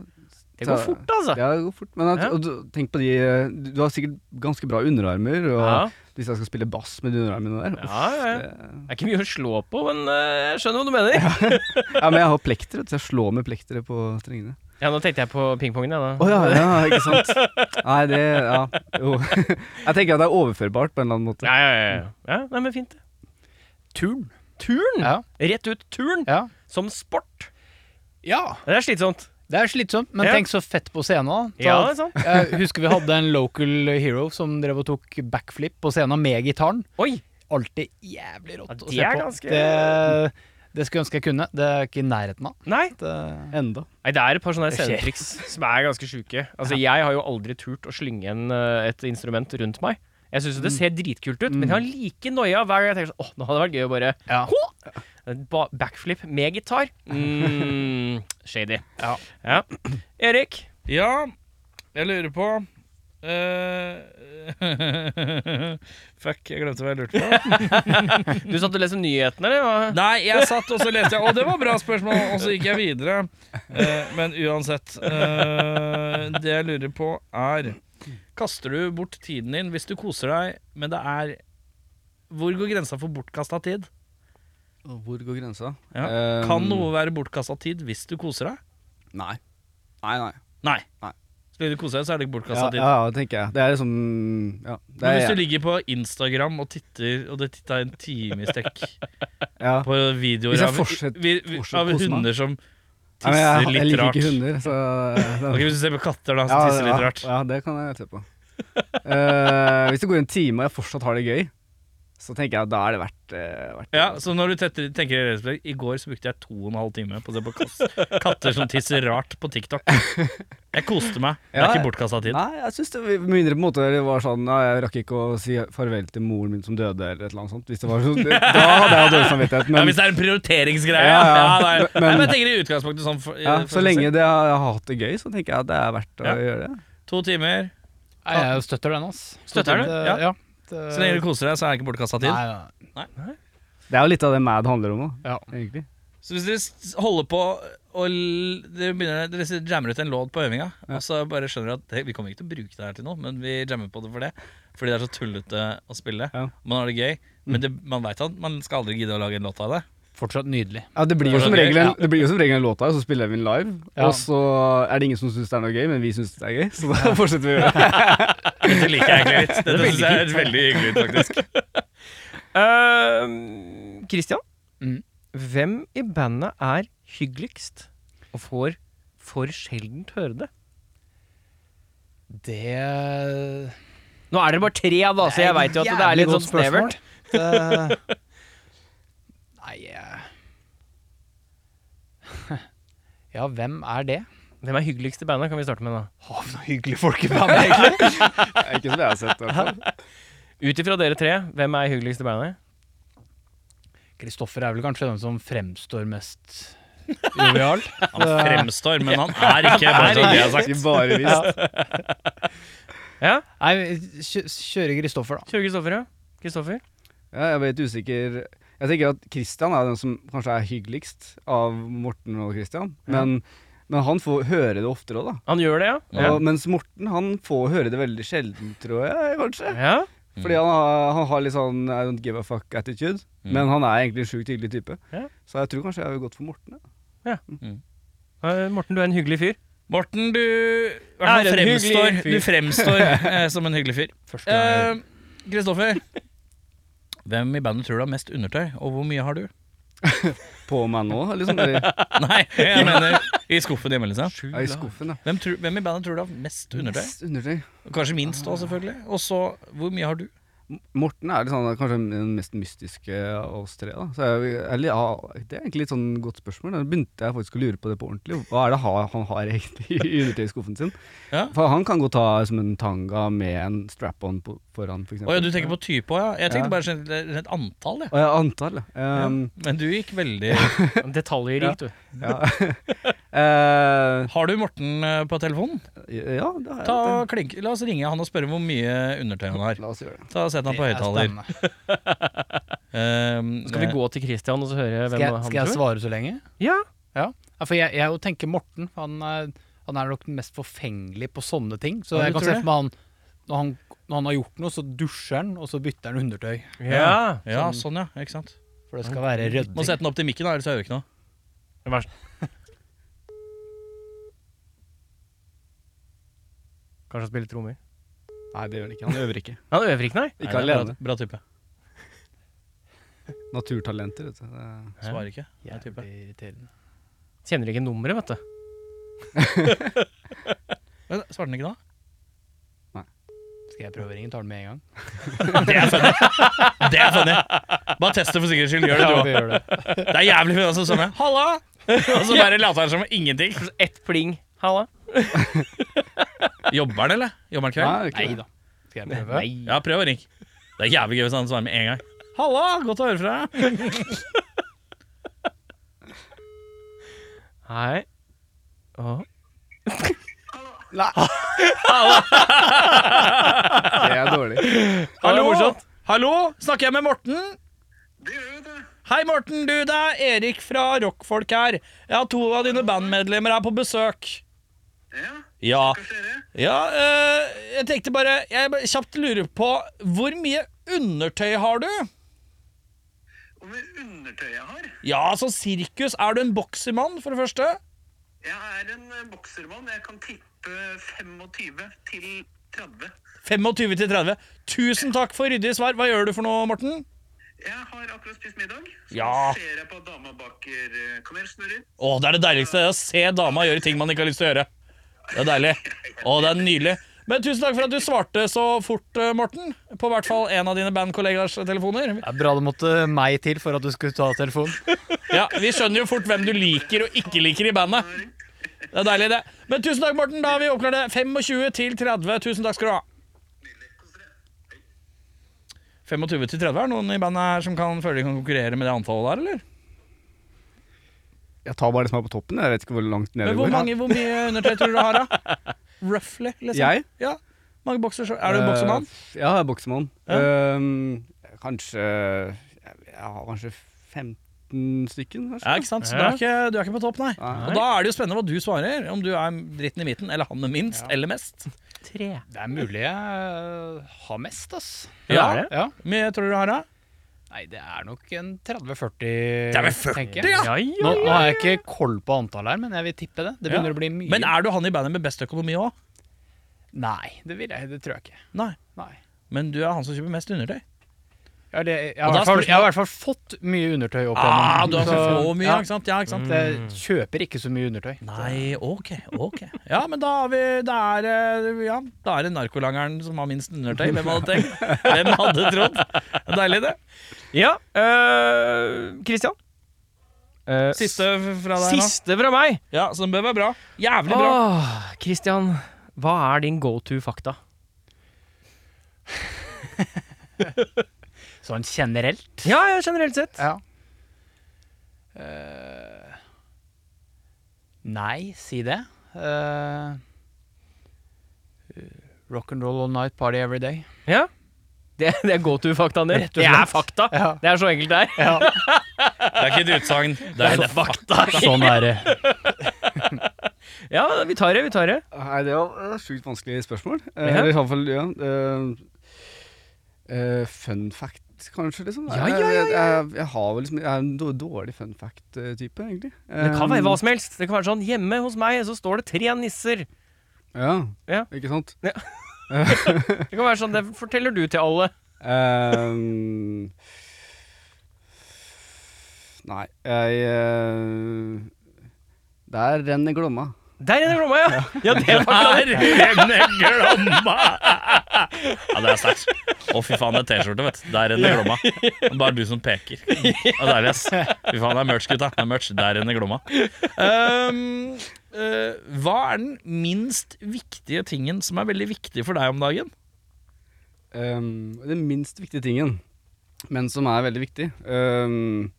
B: Det går
D: så-
B: fort, altså.
D: Ja, det går fort. Men at,
B: Ja.
D: og du, tenk på de eh, Du du har sikkert ganske bra underarmer.
B: Ja,
D: Og Hvis jeg skal spille bass med de underarmene der uff,
B: ja, ja.
D: det-
B: Det er ikke mye å slå på, men eh, jeg skjønner hva du mener. Ja.
D: ja, Men jeg har plekter, vet du, så jeg slår med plektere på strengene.
B: Nå tenkte jeg på pingpongen, jeg,
D: Å
B: da.
D: ja, ja, ikke sant. Nei, det Ja, jo. Jeg tenker at det er overførbart på en eller annen måte.
B: Ja, ja, ja. ja. ja nei, men fint. Turn. Turn?
C: Ja.
B: Rett ut turn
C: Ja.
B: som sport.
C: ja,
B: Det er slitsomt.
C: det er slitsomt, men
B: Ja.
C: tenk så fett på scenen. Da.
B: Ja,
C: Ta-
B: det sånn. er sant.
C: Jeg husker vi hadde en local hero som drev og tok backflip på scenen med gitaren.
B: Oi.
C: Alltid jævlig rått
B: Ja,
C: å
B: det
C: se
B: er
C: på.
B: ganske-
C: Det, det skulle jeg ønske jeg kunne. Det er ikke i nærheten av.
B: Nei.
C: Det,
D: Enda.
B: Nei, det er et par sånne scenetriks som er ganske sjuke. Altså, jeg har jo aldri turt å slynge en, eh, et instrument rundt meg. Jeg syns det
A: Mm.
B: ser dritkult ut, men jeg har like noia hver gang jeg tenker sånn Åh, nå hadde det vært gøy å bare
C: Ja.
B: Hå! En ba Backflip med gitar. Mm, shady. Ja. Erik.
A: ja, jeg lurer på eh, Fuck, jeg glemte hva jeg lurte på.
B: Du satt og leste nyhetene, eller? hva?
A: Nei, jeg satt og så leste jeg, og det var bra spørsmål, og så gikk jeg videre. Eh, men uansett. eh, det jeg lurer på, er Kaster du bort tiden din hvis du koser deg, men det er Hvor går grensa for bortkasta tid?
D: Og Hvor går grensa?
A: Ja.
D: Eh,
A: Kan noe være bortkasta tid hvis du koser deg?
D: Nei. Nei, nei.
A: Nei.
D: Nei.
A: Så lenge du koser deg, så er det ikke bortkasta
D: Ja,
A: tid.
D: ja, ja, det tenker jeg. Det er liksom Ja. Det
A: Men
D: er,
A: hvis du
D: jeg.
A: ligger på Instagram og titter, og det titta en time i strekk
D: ja.
A: på videoer
D: Hvis jeg
A: av,
D: fortsetter-
A: vi, vi, av
D: fortsetter å kose meg.
A: hunder som
D: Nei, men
A: tisser
D: jeg, jeg
A: litt
D: liker
A: rart
D: ikke hunder, så
A: Ok, Hvis du ser på katter da, som
D: Ja,
A: tisser
D: ja,
A: litt rart.
D: Ja, det kan jeg se på. Eh, hvis det går en time og jeg fortsatt har det gøy, så tenker jeg at da er det verdt, eh, verdt
A: Ja, så når du tetter, tenker i retrospekt I går så brukte jeg to og en halv time på å se på kass, katter som tisser rart på TikTok. Jeg koste meg. Det er
D: Ja,
A: ikke bortkasta tid.
D: Nei, jeg synes det med mindre på en måte det var sånn ja, Jeg rakk ikke å si farvel til moren min som døde, eller et eller annet sånt. Hvis det var sånn, da hadde jeg dårlig
A: ja,
D: samvittighet. Men
A: hvis det er en prioriteringsgreie. Ja,
D: Ja, ja.
A: nei.
D: Men-
A: nei, men jeg tenker i utgangspunktet sånn for,
D: ja,
A: for
D: så
A: seg
D: lenge
A: selv.
D: det har, jeg har hatt det gøy, så tenker jeg at det er verdt å
A: Ja.
D: gjøre det.
A: To timer.
C: Nei, jeg støtter den, ass.
A: Støtter du?
C: Det-
A: Ja.
C: ja.
A: Så lenge du koser deg, så er det ikke bortkasta tid.
C: Nei, nei.
D: Det er jo litt av det Mad handler om òg,
C: Ja.
D: egentlig.
A: Så hvis dere s- holder på og l- dere, begynner, dere s- jammer ut en låt på øvinga, og så bare skjønner dere at det, vi kommer ikke til å bruke det her til noe, men vi jammer på det for det. Fordi det er så tullete å spille.
D: Ja.
A: Man har det gøy,
B: Mm.
A: men det, man veit at man skal aldri gidde å lage en låt av det.
C: Fortsatt nydelig.
D: Ja, det blir jo
A: Fortsatt
D: som
A: gøy,
D: regel en,
A: ja.
D: det blir jo som regel en låt av, og så spiller vi den live.
C: Ja.
D: Og så er det ingen som syns det er noe gøy, men vi syns det er gøy, så da fortsetter vi å gjøre det.
A: Dette liker jeg egentlig litt. Dette synes jeg er veldig hyggelig, faktisk.
B: Eh, Christian,
C: Mm.
B: hvem i bandet er hyggeligst og får for sjeldent høre det?
C: Det
B: Nå er dere bare tre, da, så jeg veit jo at det er litt sånn snevert.
C: snevert. Nei eh. Ja, hvem er det?
B: Hvem er hyggeligst i bandet, kan vi starte med da.
C: Har vi noen hyggelige folk i bandet, egentlig?
D: Ikke som jeg har sett, i hvert fall.
B: Ut ifra dere tre, hvem er hyggeligst i bandet?
C: Kristoffer er vel kanskje den som fremstår mest jovial.
A: Han fremstår, men han er ikke bare sånn. som det jeg har sagt.
D: Ikke bare visst.
C: Nei, kjø kjøre Kristoffer, da.
B: Kjøre Kristoffer, ja. Kristoffer?
D: Ja, jeg ble litt usikker. Jeg tenker at Christian er den som kanskje er hyggeligst av Morten og Christian, men, men han får høre det oftere òg, da.
B: Han gjør det, ja?
A: Ja.
D: Og, mens Morten han får høre det veldig sjelden, tror jeg, kanskje.
B: Ja,
D: Fordi han har, han har litt sånn I don't give a fuck-attitude. Men han er egentlig en sjukt hyggelig type.
B: Ja.
D: Så jeg tror kanskje jeg har gått for Morten. Ja.
B: Eh, Morten, du er en hyggelig fyr.
A: Morten, du, i hvert
B: Er
A: fall
B: en
A: fremstår,
B: hyggelig fyr.
A: du fremstår eh, som en hyggelig fyr. Eh, Kristoffer, hvem i bandet tror du har mest undertøy, og hvor mye har du?
D: På meg nå, liksom. Eller
A: Nei, jeg mener i skuffen hjemme, liksom.
D: ja, i skuffen, ja.
A: Hvem, tror, hvem i bandet tror du har mest undertøy?
D: Mest Undertøy.
A: Kanskje minst òg, selvfølgelig. Og så, hvor mye har du?
D: M- Morten er litt sånn, kanskje den mest mystiske av oss tre. Da. Så jeg, eller, ja, det er egentlig litt sånn godt spørsmål. Da begynte jeg faktisk å lure på det på ordentlig. Hva er det ha, han har egentlig i undertøyskuffen sin?
A: Ja.
D: For han kan godt ta som en tanga med en strap-on på- foran, for
A: Å
D: eksempel.
A: ja, du tenker på type òg, ja. Jeg tenkte
D: Ja.
A: bare generelt et antall, jeg.
D: Å, ja, antall, ja. Um,
A: Men du gikk veldig
B: Detaljrikt, du.
D: ja. Eh,
A: Har du Morten eh, på telefonen?
D: ja, det har jeg.
A: Ta, klink, la oss ringe han og spørre hvor mye undertøy han har.
D: La oss gjøre det.
A: Ta Sett han på
C: Det er
A: høyttaler.
C: spennende.
A: Um,
B: Skal vi gå til Christian og så høre hvem
C: Skal jeg,
B: han
C: skal jeg
B: tror?
C: svare så lenge?
B: Ja.
C: Ja, for jeg, jeg tenker Morten. for Han er, han er nok den mest forfengelig på sånne ting. Så
A: Ja, du
C: jeg kan
A: tror
C: se for meg han når, han når han har gjort noe, så dusjer han, og så bytter han undertøy.
B: ja.
A: Ja, sånn ja, ikke sant
C: For det skal være
A: Må
C: rydding.
A: sette den opp til mikken, da, ellers hører vi ikke noe.
B: Vær så Kanskje han spiller trommer.
D: Nei, det gjør han ikke. Han øver ikke.
B: Han øver ikke, nei.
D: Ikke
A: Nei, det er
D: alene.
A: Bra, bra type.
D: Naturtalenter, vet du. Det er-
A: Svarer ikke. Det er type.
C: Jævlig irriterende.
B: Kjenner ikke nummeret, vet du.
A: Men, svarte den ikke da?
C: Skal jeg prøve å ringe? Tar den med en gang?
A: Det er funny! Bare test det for sikkerhets skyld. Gjør det, du òg.
C: gjør det.
A: Det er jævlig funny altså, sånn. ja. Halla! Og så bare later han som ingenting.
B: Ett pling. Halla.
A: Jobber han, eller? Jobber han kveld?
D: Nei, ikke
C: Nei
D: det.
C: da. Skal jeg prøve?
A: Ja, prøv å ringe. Det er jævlig gøy hvis han svarer med en gang. Halla! Godt å høre fra deg.
B: Hei. Å.
D: Det er dårlig.
A: Hallo!
B: morsomt.
A: Hallo! Snakker jeg med Morten? Hei, Morten. Du, det er Erik fra Rockfolk her. Jeg har to av dine bandmedlemmer her på besøk. Ja. Ja, eh, jeg tenkte bare Jeg bare kjapt lurer på Hvor mye undertøy har du?
H: Hvor mye undertøy jeg har?
A: Ja, så sirkus. Er du en boksemann, for det første?
H: Jeg er en eh, boksermann. Jeg kan tippe 25 til 30.
A: 25 til 30. Tusen takk for ryddig svar. Hva gjør du for noe, Morten?
H: Jeg har akkurat spist middag. Så
A: Ja.
H: ser jeg på at dama baker eh, kanelsnurrer.
A: Å, det er det deiligste. Det er å se dama gjøre ting man ikke har lyst til å gjøre. Det er deilig. Å, det er nydelig. Men tusen takk for at du svarte så fort, eh, Morten. På hvert fall en av dine bandkollegaers telefoner.
C: Det er bra det måtte meg til for at du skulle ta telefonen.
A: Ja, Vi skjønner jo fort hvem du liker og ikke liker i bandet. Det er deilig, det. Men tusen takk, Morten. Da har vi oppklart det. 25 til 30. Tusen takk skal du ha. 25 til 30 er det noen i bandet her som kan føle de kan konkurrere med det antallet der, eller?
D: Jeg tar bare det som er på toppen. Jeg vet ikke hvor langt ned
A: Men
D: det
A: hvor,
D: går.
A: mange, hvor mye undertøy tror du du har, da? Roughly, liksom.
D: Jeg?
A: Ja. Mange bokser, er du en boksemann?
D: Eh, ja, jeg er boksemann.
A: Ja.
D: Ehm, kanskje Jeg har kanskje 15 stykken, kanskje.
A: Ja, ikke sant? Så du er ikke, du er ikke på topp, nei.
D: Nei.
A: Og da er det jo spennende hva du svarer. Om du er dritten i midten, eller han med minst, eller mest.
C: Det er mulig jeg har mest, ass.
A: Ja,
B: det er det.
C: Ja.
A: Hvor mye tror du du har, da?
C: Nei, det er nok en 30-40,
A: er vel 40,
C: tenker jeg.
B: Ja, ja,
C: Nå, nå har jeg ikke koll på antallet her, men jeg vil tippe det. Det
A: Ja.
C: begynner å bli mye.
A: Men er du han i bandet med best økonomi òg?
C: Nei, det, vil jeg, det tror jeg ikke.
A: Nei.
C: Nei.
A: Men du er han som kjøper mest undertøy.
C: Jeg, har det, jeg, har
A: Og da
C: i hvert fall,
A: spørs-
C: jeg har i hvert fall fått mye undertøy opp
A: Ah,
C: igjennom,
A: du har så
C: så-
A: få mye,
C: ja.
A: ikke sant? Ja, Mm. ikke sant?
C: Jeg kjøper ikke så mye undertøy.
A: Nei, ok, ok. Ja, men da har vi Det er, eh, ja, da er det narkolangeren som har minst undertøy. Hvem hadde tenkt? Hvem hadde trodd? Deilig, det.
B: Ja, øh, Christian. Øh,
A: Siste fra deg nå.
B: siste fra meg.
A: Ja, så den bør være bra. Jævlig bra.
B: Åh, Christian, hva er din go to-fakta?
C: Sånn generelt.
B: Ja, ja, generelt sett.
C: Ja. Eh, nei, si det. Uh, Rock'n'roll all night, party every day.
B: Ja. Det, det er go to-faktaen din.
C: Rett og
B: Det
C: slett.
B: er fakta.
C: Ja.
B: Det er så enkelt det er.
A: Det er ikke et utsagn. Det er en fakta.
C: Sånn er det.
B: Ja, vi tar det, vi tar det.
D: Nei, det var et sjukt vanskelig spørsmål. Eh,
B: Ja.
D: Eller i hvert fall, ja. eh, eh, fun fact, kanskje, liksom.
B: Ja, ja, ja, ja,
D: Jeg, jeg, jeg har vel liksom Jeg er en dår- dårlig fun fact-type, egentlig.
B: Det kan være hva
A: Mm.
D: Eh,
B: som helst. Det kan være sånn Hjemme hos meg så står det tre nisser.
D: Ehm,
B: Ja.
D: ja, ikke sant?
B: Ja. Det kan være sånn Det forteller du til alle.
D: Ehm, nei, jeg eh, Der renner Glomma.
B: Der er det glomma, ja! Ja, det var
A: Der renner glomma! Ja, det er sterkt. Å, fy faen, det er T-skjorte, vet du. Der renner glomma. Det er bare du som peker. Ja, det er det, ass. Fy faen, det er merch, gutta. Det er merch. Der renner glomma. Ehm, eh, hva er den minst viktige tingen som er veldig viktig for deg om dagen?
D: Ehm, den minst viktige tingen, men som er veldig viktig. Ehm,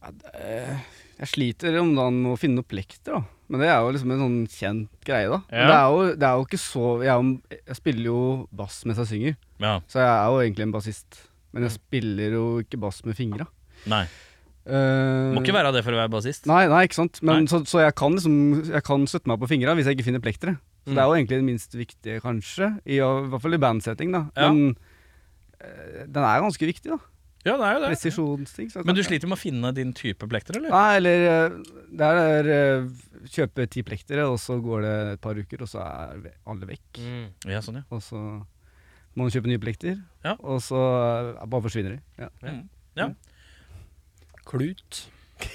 D: ja, det- eh, jeg sliter om dagen med å finne noen plekter, da. Men det er jo liksom en sånn kjent greie, da. Men Det, er jo, det er jo ikke så jeg, er jo, jeg spiller jo bass mens jeg synger,
A: Ja,
D: så jeg er jo egentlig en bassist. Men
A: Mm.
D: jeg spiller jo ikke bass med fingra.
A: nei.
D: Uh,
A: Må ikke være det for å være bassist.
D: Nei, nei, ikke sant.
A: Nei.
D: Men Så, så jeg kan liksom Jeg kan støtte meg på fingra hvis jeg ikke finner plekteret.
A: Mm.
D: Så det er jo egentlig det minst viktige, kanskje. I, I hvert fall i bandsetting, da.
A: Ja.
D: Men eh, den er ganske viktig, da.
A: Ja, det er jo det.
D: Presisjonsting. så-
A: Men du sliter med å finne din type plekter, eller?
D: Nei, eller eh, det er eh, kjøpe ti plektere, og så går det et par uker, og så er ve- alle vekk.
B: Mm.
A: Ja, sånn, ja.
D: Og så må man kjøpe nye plekter,
A: Ja.
D: og så eh, bare forsvinner de. Ja.
A: Mm.
C: Klut.
D: Eh,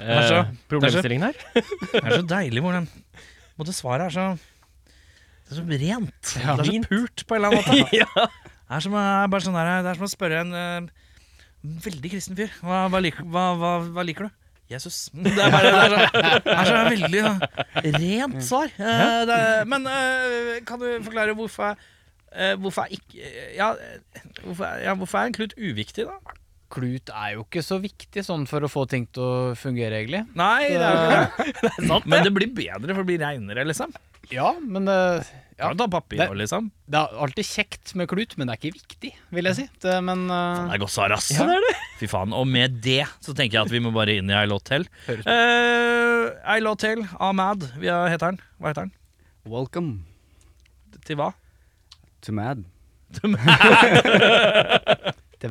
A: Vær så-
B: problemstillingen her.
A: Det er så deilig hvordan måtte svaret er så Det er så rent. det er så
B: Fint.
A: pult på en eller annen måte. det, er som, å- er bare sånn der, det er som å spørre en eh, veldig kristen fyr hva, hva, liker, hva, hva, hva liker du? Jesus. Det er bare det er så, det er så veldig eh, rent svar. Eh, det er, men eh, kan du forklare hvorfor eh, hvorfor er ikke ja, eh, hvorfor, er- ja, hvorfor er en klut uviktig, da?
C: Klut er jo ikke så viktig sånn for å få ting til å fungere, egentlig.
A: Nei, det er jo ikke det. Men det blir bedre, for det blir reinere, liksom.
C: Ja, men eh,
A: Ja. Kan du ta papir
C: Det-
A: nå, liksom?
C: det er alltid kjekt med klut, men det er ikke viktig, vil jeg si. Det, men eh,
A: Det er godt svar, ass. Fy faen. Og med det så tenker jeg at vi må bare inn i I Lot Tell. Eh, I Lot Tell av Mad. Vi har- heter den. Hva heter den?
D: Welcome
A: Til hva?
D: to mad.
C: til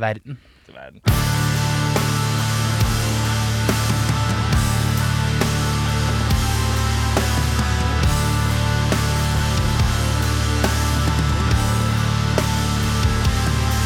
C: verden.
A: Til verden.
F: I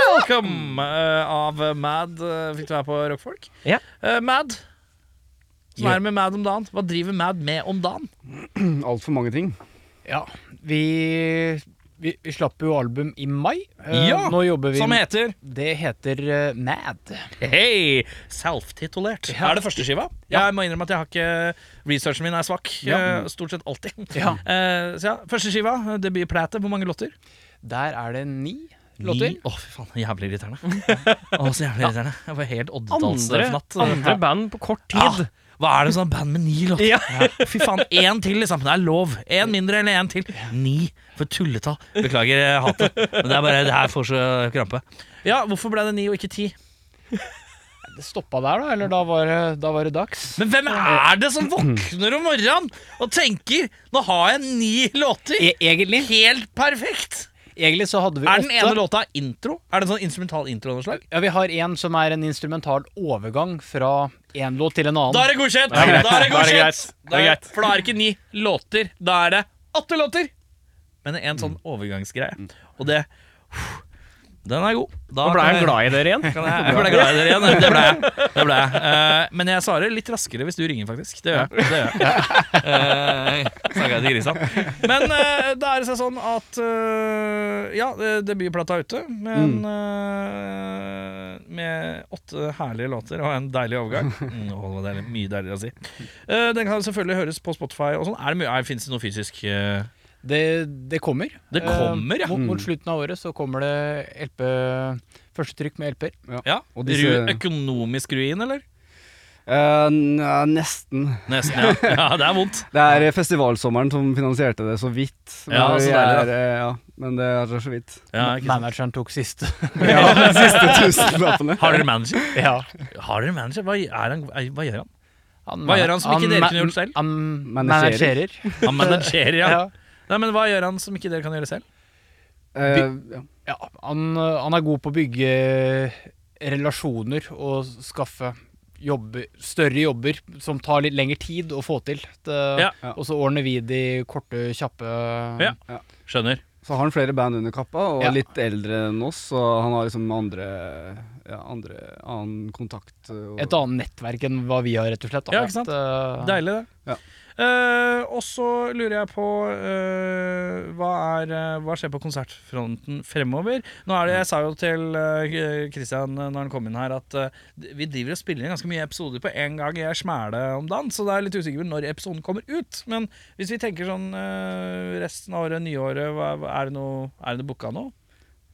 A: 'Welcome' eh, av Mad eh, fikk du her på Rockfolk.
B: Ja.
A: Eh, Mad. Som er det med Mad om dagen? Hva driver Mad med om dagen?
D: Altfor mange ting.
C: Ja, vi, vi, vi slapp jo album i mai. Eh,
A: Ja,
C: Nå jobber vi
A: Som heter
C: Det heter eh, Mad.
A: Hei! Self-titulert. Er det første skiva? Jeg må innrømme at jeg har ikke Researchen min er svak. eh, Stort sett alltid.
C: Ja.
A: Eh, så ja, første skiva, eh, debutplate. Hvor mange låter?
C: Der er det ni låter.
A: Ni- Å, fy faen. Jævlig irriterende. Å, så jævlig irriterende. Jeg var helt
B: Andre,
A: oddetallsfnatt.
B: andre band på kort
A: Ja.
B: tid.
A: Hva er det sånn band med ni låter? Ja. Fy faen, én til, liksom. Det er lov. Én mindre eller én til. Ni. For tulletall. Beklager jeg hater Men det er bare det her får så krampe. Ja, hvorfor ble det ni og ikke ti?
C: Det stoppa der, da. Eller da var det, da var det dags.
A: Men hvem er det som våkner om morgenen og tenker 'nå har jeg ni låter'?
C: E egentlig,
A: Helt perfekt!
C: egentlig så hadde vi
A: Er den
C: åtte.
A: ene låta intro? Er det en sånn instrumental intro? av noe slag?
C: Ja, vi har en som er en instrumental overgang fra én låt til en annen.
A: Da er det godkjent! Da er det
B: Da er det
A: godkjent!
B: greit.
A: Da er, for da er det ikke ni låter, da er det åtte låter! Men det er en sånn
B: Mm.
A: overgangsgreie. Og det Den er god. Da
B: Og ble
A: kan
B: han
A: jeg-
B: glad i dere igjen?
A: kan jeg, jeg ble glad i dere igjen. Det ble jeg. Det ble jeg. Eh, men jeg svarer litt raskere hvis du ringer, faktisk. Det gjør jeg. Det gjør jeg. Eh, snakket jeg til grisene. Men eh, da er det seg sånn at eh, Ja, eh, debutplata er ute, men
D: Mm.
A: eh, med åtte herlige låter og en deilig overgang. Mm, å, det er mye deiligere å si. Eh, den kan selvfølgelig høres på Spotify og sånn. Er det mye- er- Fins det noe fysisk eh,
C: det, det kommer.
A: Det kommer, ja. Mm.
C: Eh, mot, mot slutten av året så kommer det LP Førstetrykk med LP-er.
A: ja.
D: og disse-
A: Ru, økonomisk ruin, eller?
D: Eh, n- ja, nesten.
A: Nesten, ja. ja det er vondt.
D: Det er eh, festivalsommeren som finansierte det så vidt. Men
A: Ja, så
D: vi
A: deilig, da.
D: er, eh, ja, men det er så vidt.
A: Ja, ikke sant.
C: Manageren tok siste.
D: Ja, de siste tusenlappene.
A: Har dere manager?
C: ja.
A: Har dere manager? Hva, er han, er- hva gjør han? Hva gjør han som ikke dere
C: ma-
A: kunne gjort selv?
C: Han
D: Managerer.
C: managerer.
A: Han managerer, ja.
C: Ja.
A: Nei, men Hva gjør han som ikke dere kan gjøre selv?
D: Eh, ja.
C: Ja, han, øh, han er god på å bygge relasjoner og skaffe jobber, større jobber som tar litt lengre tid å få til. Det,
A: Ja.
C: Og så ordner vi de korte, kjappe
A: Ja. Skjønner.
D: Så har han flere band under kappa, og
C: Ja.
D: litt eldre enn oss, så han har liksom andre, ja, andre annen kontakt. eh, Og,
C: Et annet nettverk enn hva vi har, rett og slett. da.
A: Ja, ikke sant?
C: At, øh,
A: Deilig, det.
D: Ja.
A: Eh, og så lurer jeg på eh, hva, er, eh, hva skjer på konsertfronten fremover? Nå er det, Jeg sa jo til eh, Christian eh, når han kom inn her, at eh, vi driver og spiller inn ganske mye episoder på en gang i ei smæle om dagen, så det er litt usikkert når episoden kommer ut. Men hvis vi tenker sånn eh, resten av året, nyåret, hva, hva- er det noe, er det noe booka nå?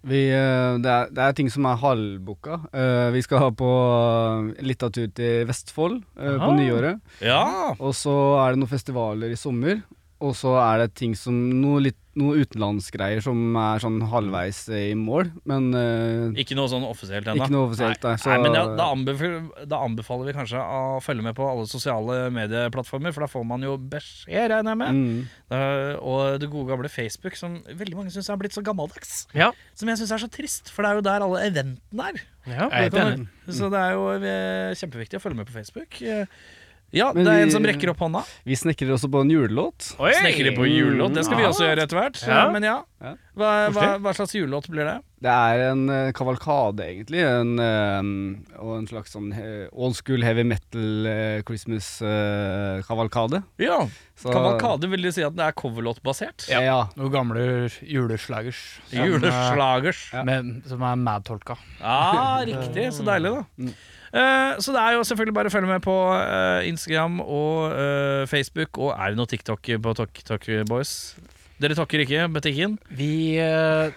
D: Vi, eh, det, er, det er ting som er halvbooka. Eh, vi skal ha på eh, litt av tur til Vestfold eh, på
A: Ah.
D: nyåret.
A: Ja!
D: Og så er det noen festivaler i sommer. Og så er det ting som noe, litt, noe utenlandsgreier som er sånn halvveis i mål, men eh,
A: Ikke noe sånn offisielt ennå.
D: ikke noe offisielt. Nei, så
A: Nei, men ja, da, anbefaler, da anbefaler vi kanskje å følge med på alle sosiale medieplattformer, for da får man jo beskjed, regner jeg med.
D: mm,
A: Da- og det gode gamle Facebook, som veldig mange syns er blitt så gammeldags.
B: Ja.
A: Som jeg syns er så trist, for det er jo der alle eventene er.
B: Ja.
C: Jeg er helt enig.
A: Så det er jo eh, kjempeviktig å følge med på Facebook. Eh, Ja,
D: Men
A: det er en
D: vi-
A: som rekker opp hånda.
D: Vi snekrer også på en julelåt.
B: Oi!
A: Snekrer på julelåt. Det skal vi også gjøre etter hvert.
B: Ja.
A: Eh, Men ja.
D: Ja.
A: Hva, hva, hva slags julelåt blir det?
D: Det er en eh, kavalkade, egentlig. En, eh, og en slags sånn eh, old school heavy metal eh, Christmas-kavalkade.
A: Ja,
D: Så-
A: Kavalkade vil de si at det er coverlåtbasert?
D: Ja. ja.
C: Noen gamle juleslagers som, øh,
A: Juleslagers.
C: med, som er mad-tolka.
A: Ja, riktig. Så deilig, da. Eh, så det er jo selvfølgelig bare å følge med på eh, Instagram og eh, Facebook. Og er det noe TikTok på TikTok Boys? Dere takker ikke butikken?
C: Vi, eh,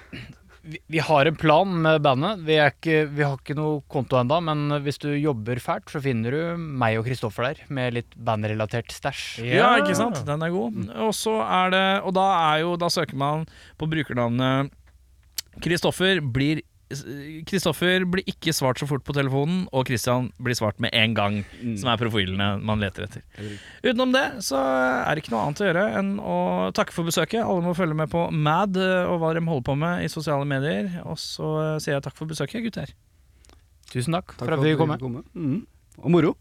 C: vi, vi har en plan med bandet. Vi, er ikke, vi har ikke noe konto ennå, men hvis du jobber fælt, så finner du meg og Kristoffer der med litt bandrelatert stæsj.
A: Ja. ikke sant? Den er god. Og så er det Og da er jo Da søker man på brukernavnet Kristoffer blir Kristoffer blir ikke svart så fort på telefonen, og Christian blir svart med en gang, som er profilene man leter etter. Utenom det så er det ikke noe annet å gjøre enn å takke for besøket. Alle må følge med på Mad eh, og hva de holder på med i sosiale medier. Og så eh, sier jeg takk for besøket, gutter.
C: Tusen takk,
D: Takk
C: for at vi kom.
D: ville komme. Mhm. Og moro.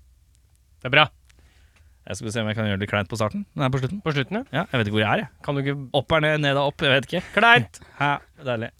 B: Det er bra.
A: Jeg skal se om jeg kan gjøre det litt kleint på starten. Nei, på slutten.
B: På slutten, ja.
A: Ja, jeg vet ikke hvor jeg er, jeg.
B: Kan du ikke
A: Opp er ned, ned er opp. Jeg vet ikke. Kleint! Hæ, deilig.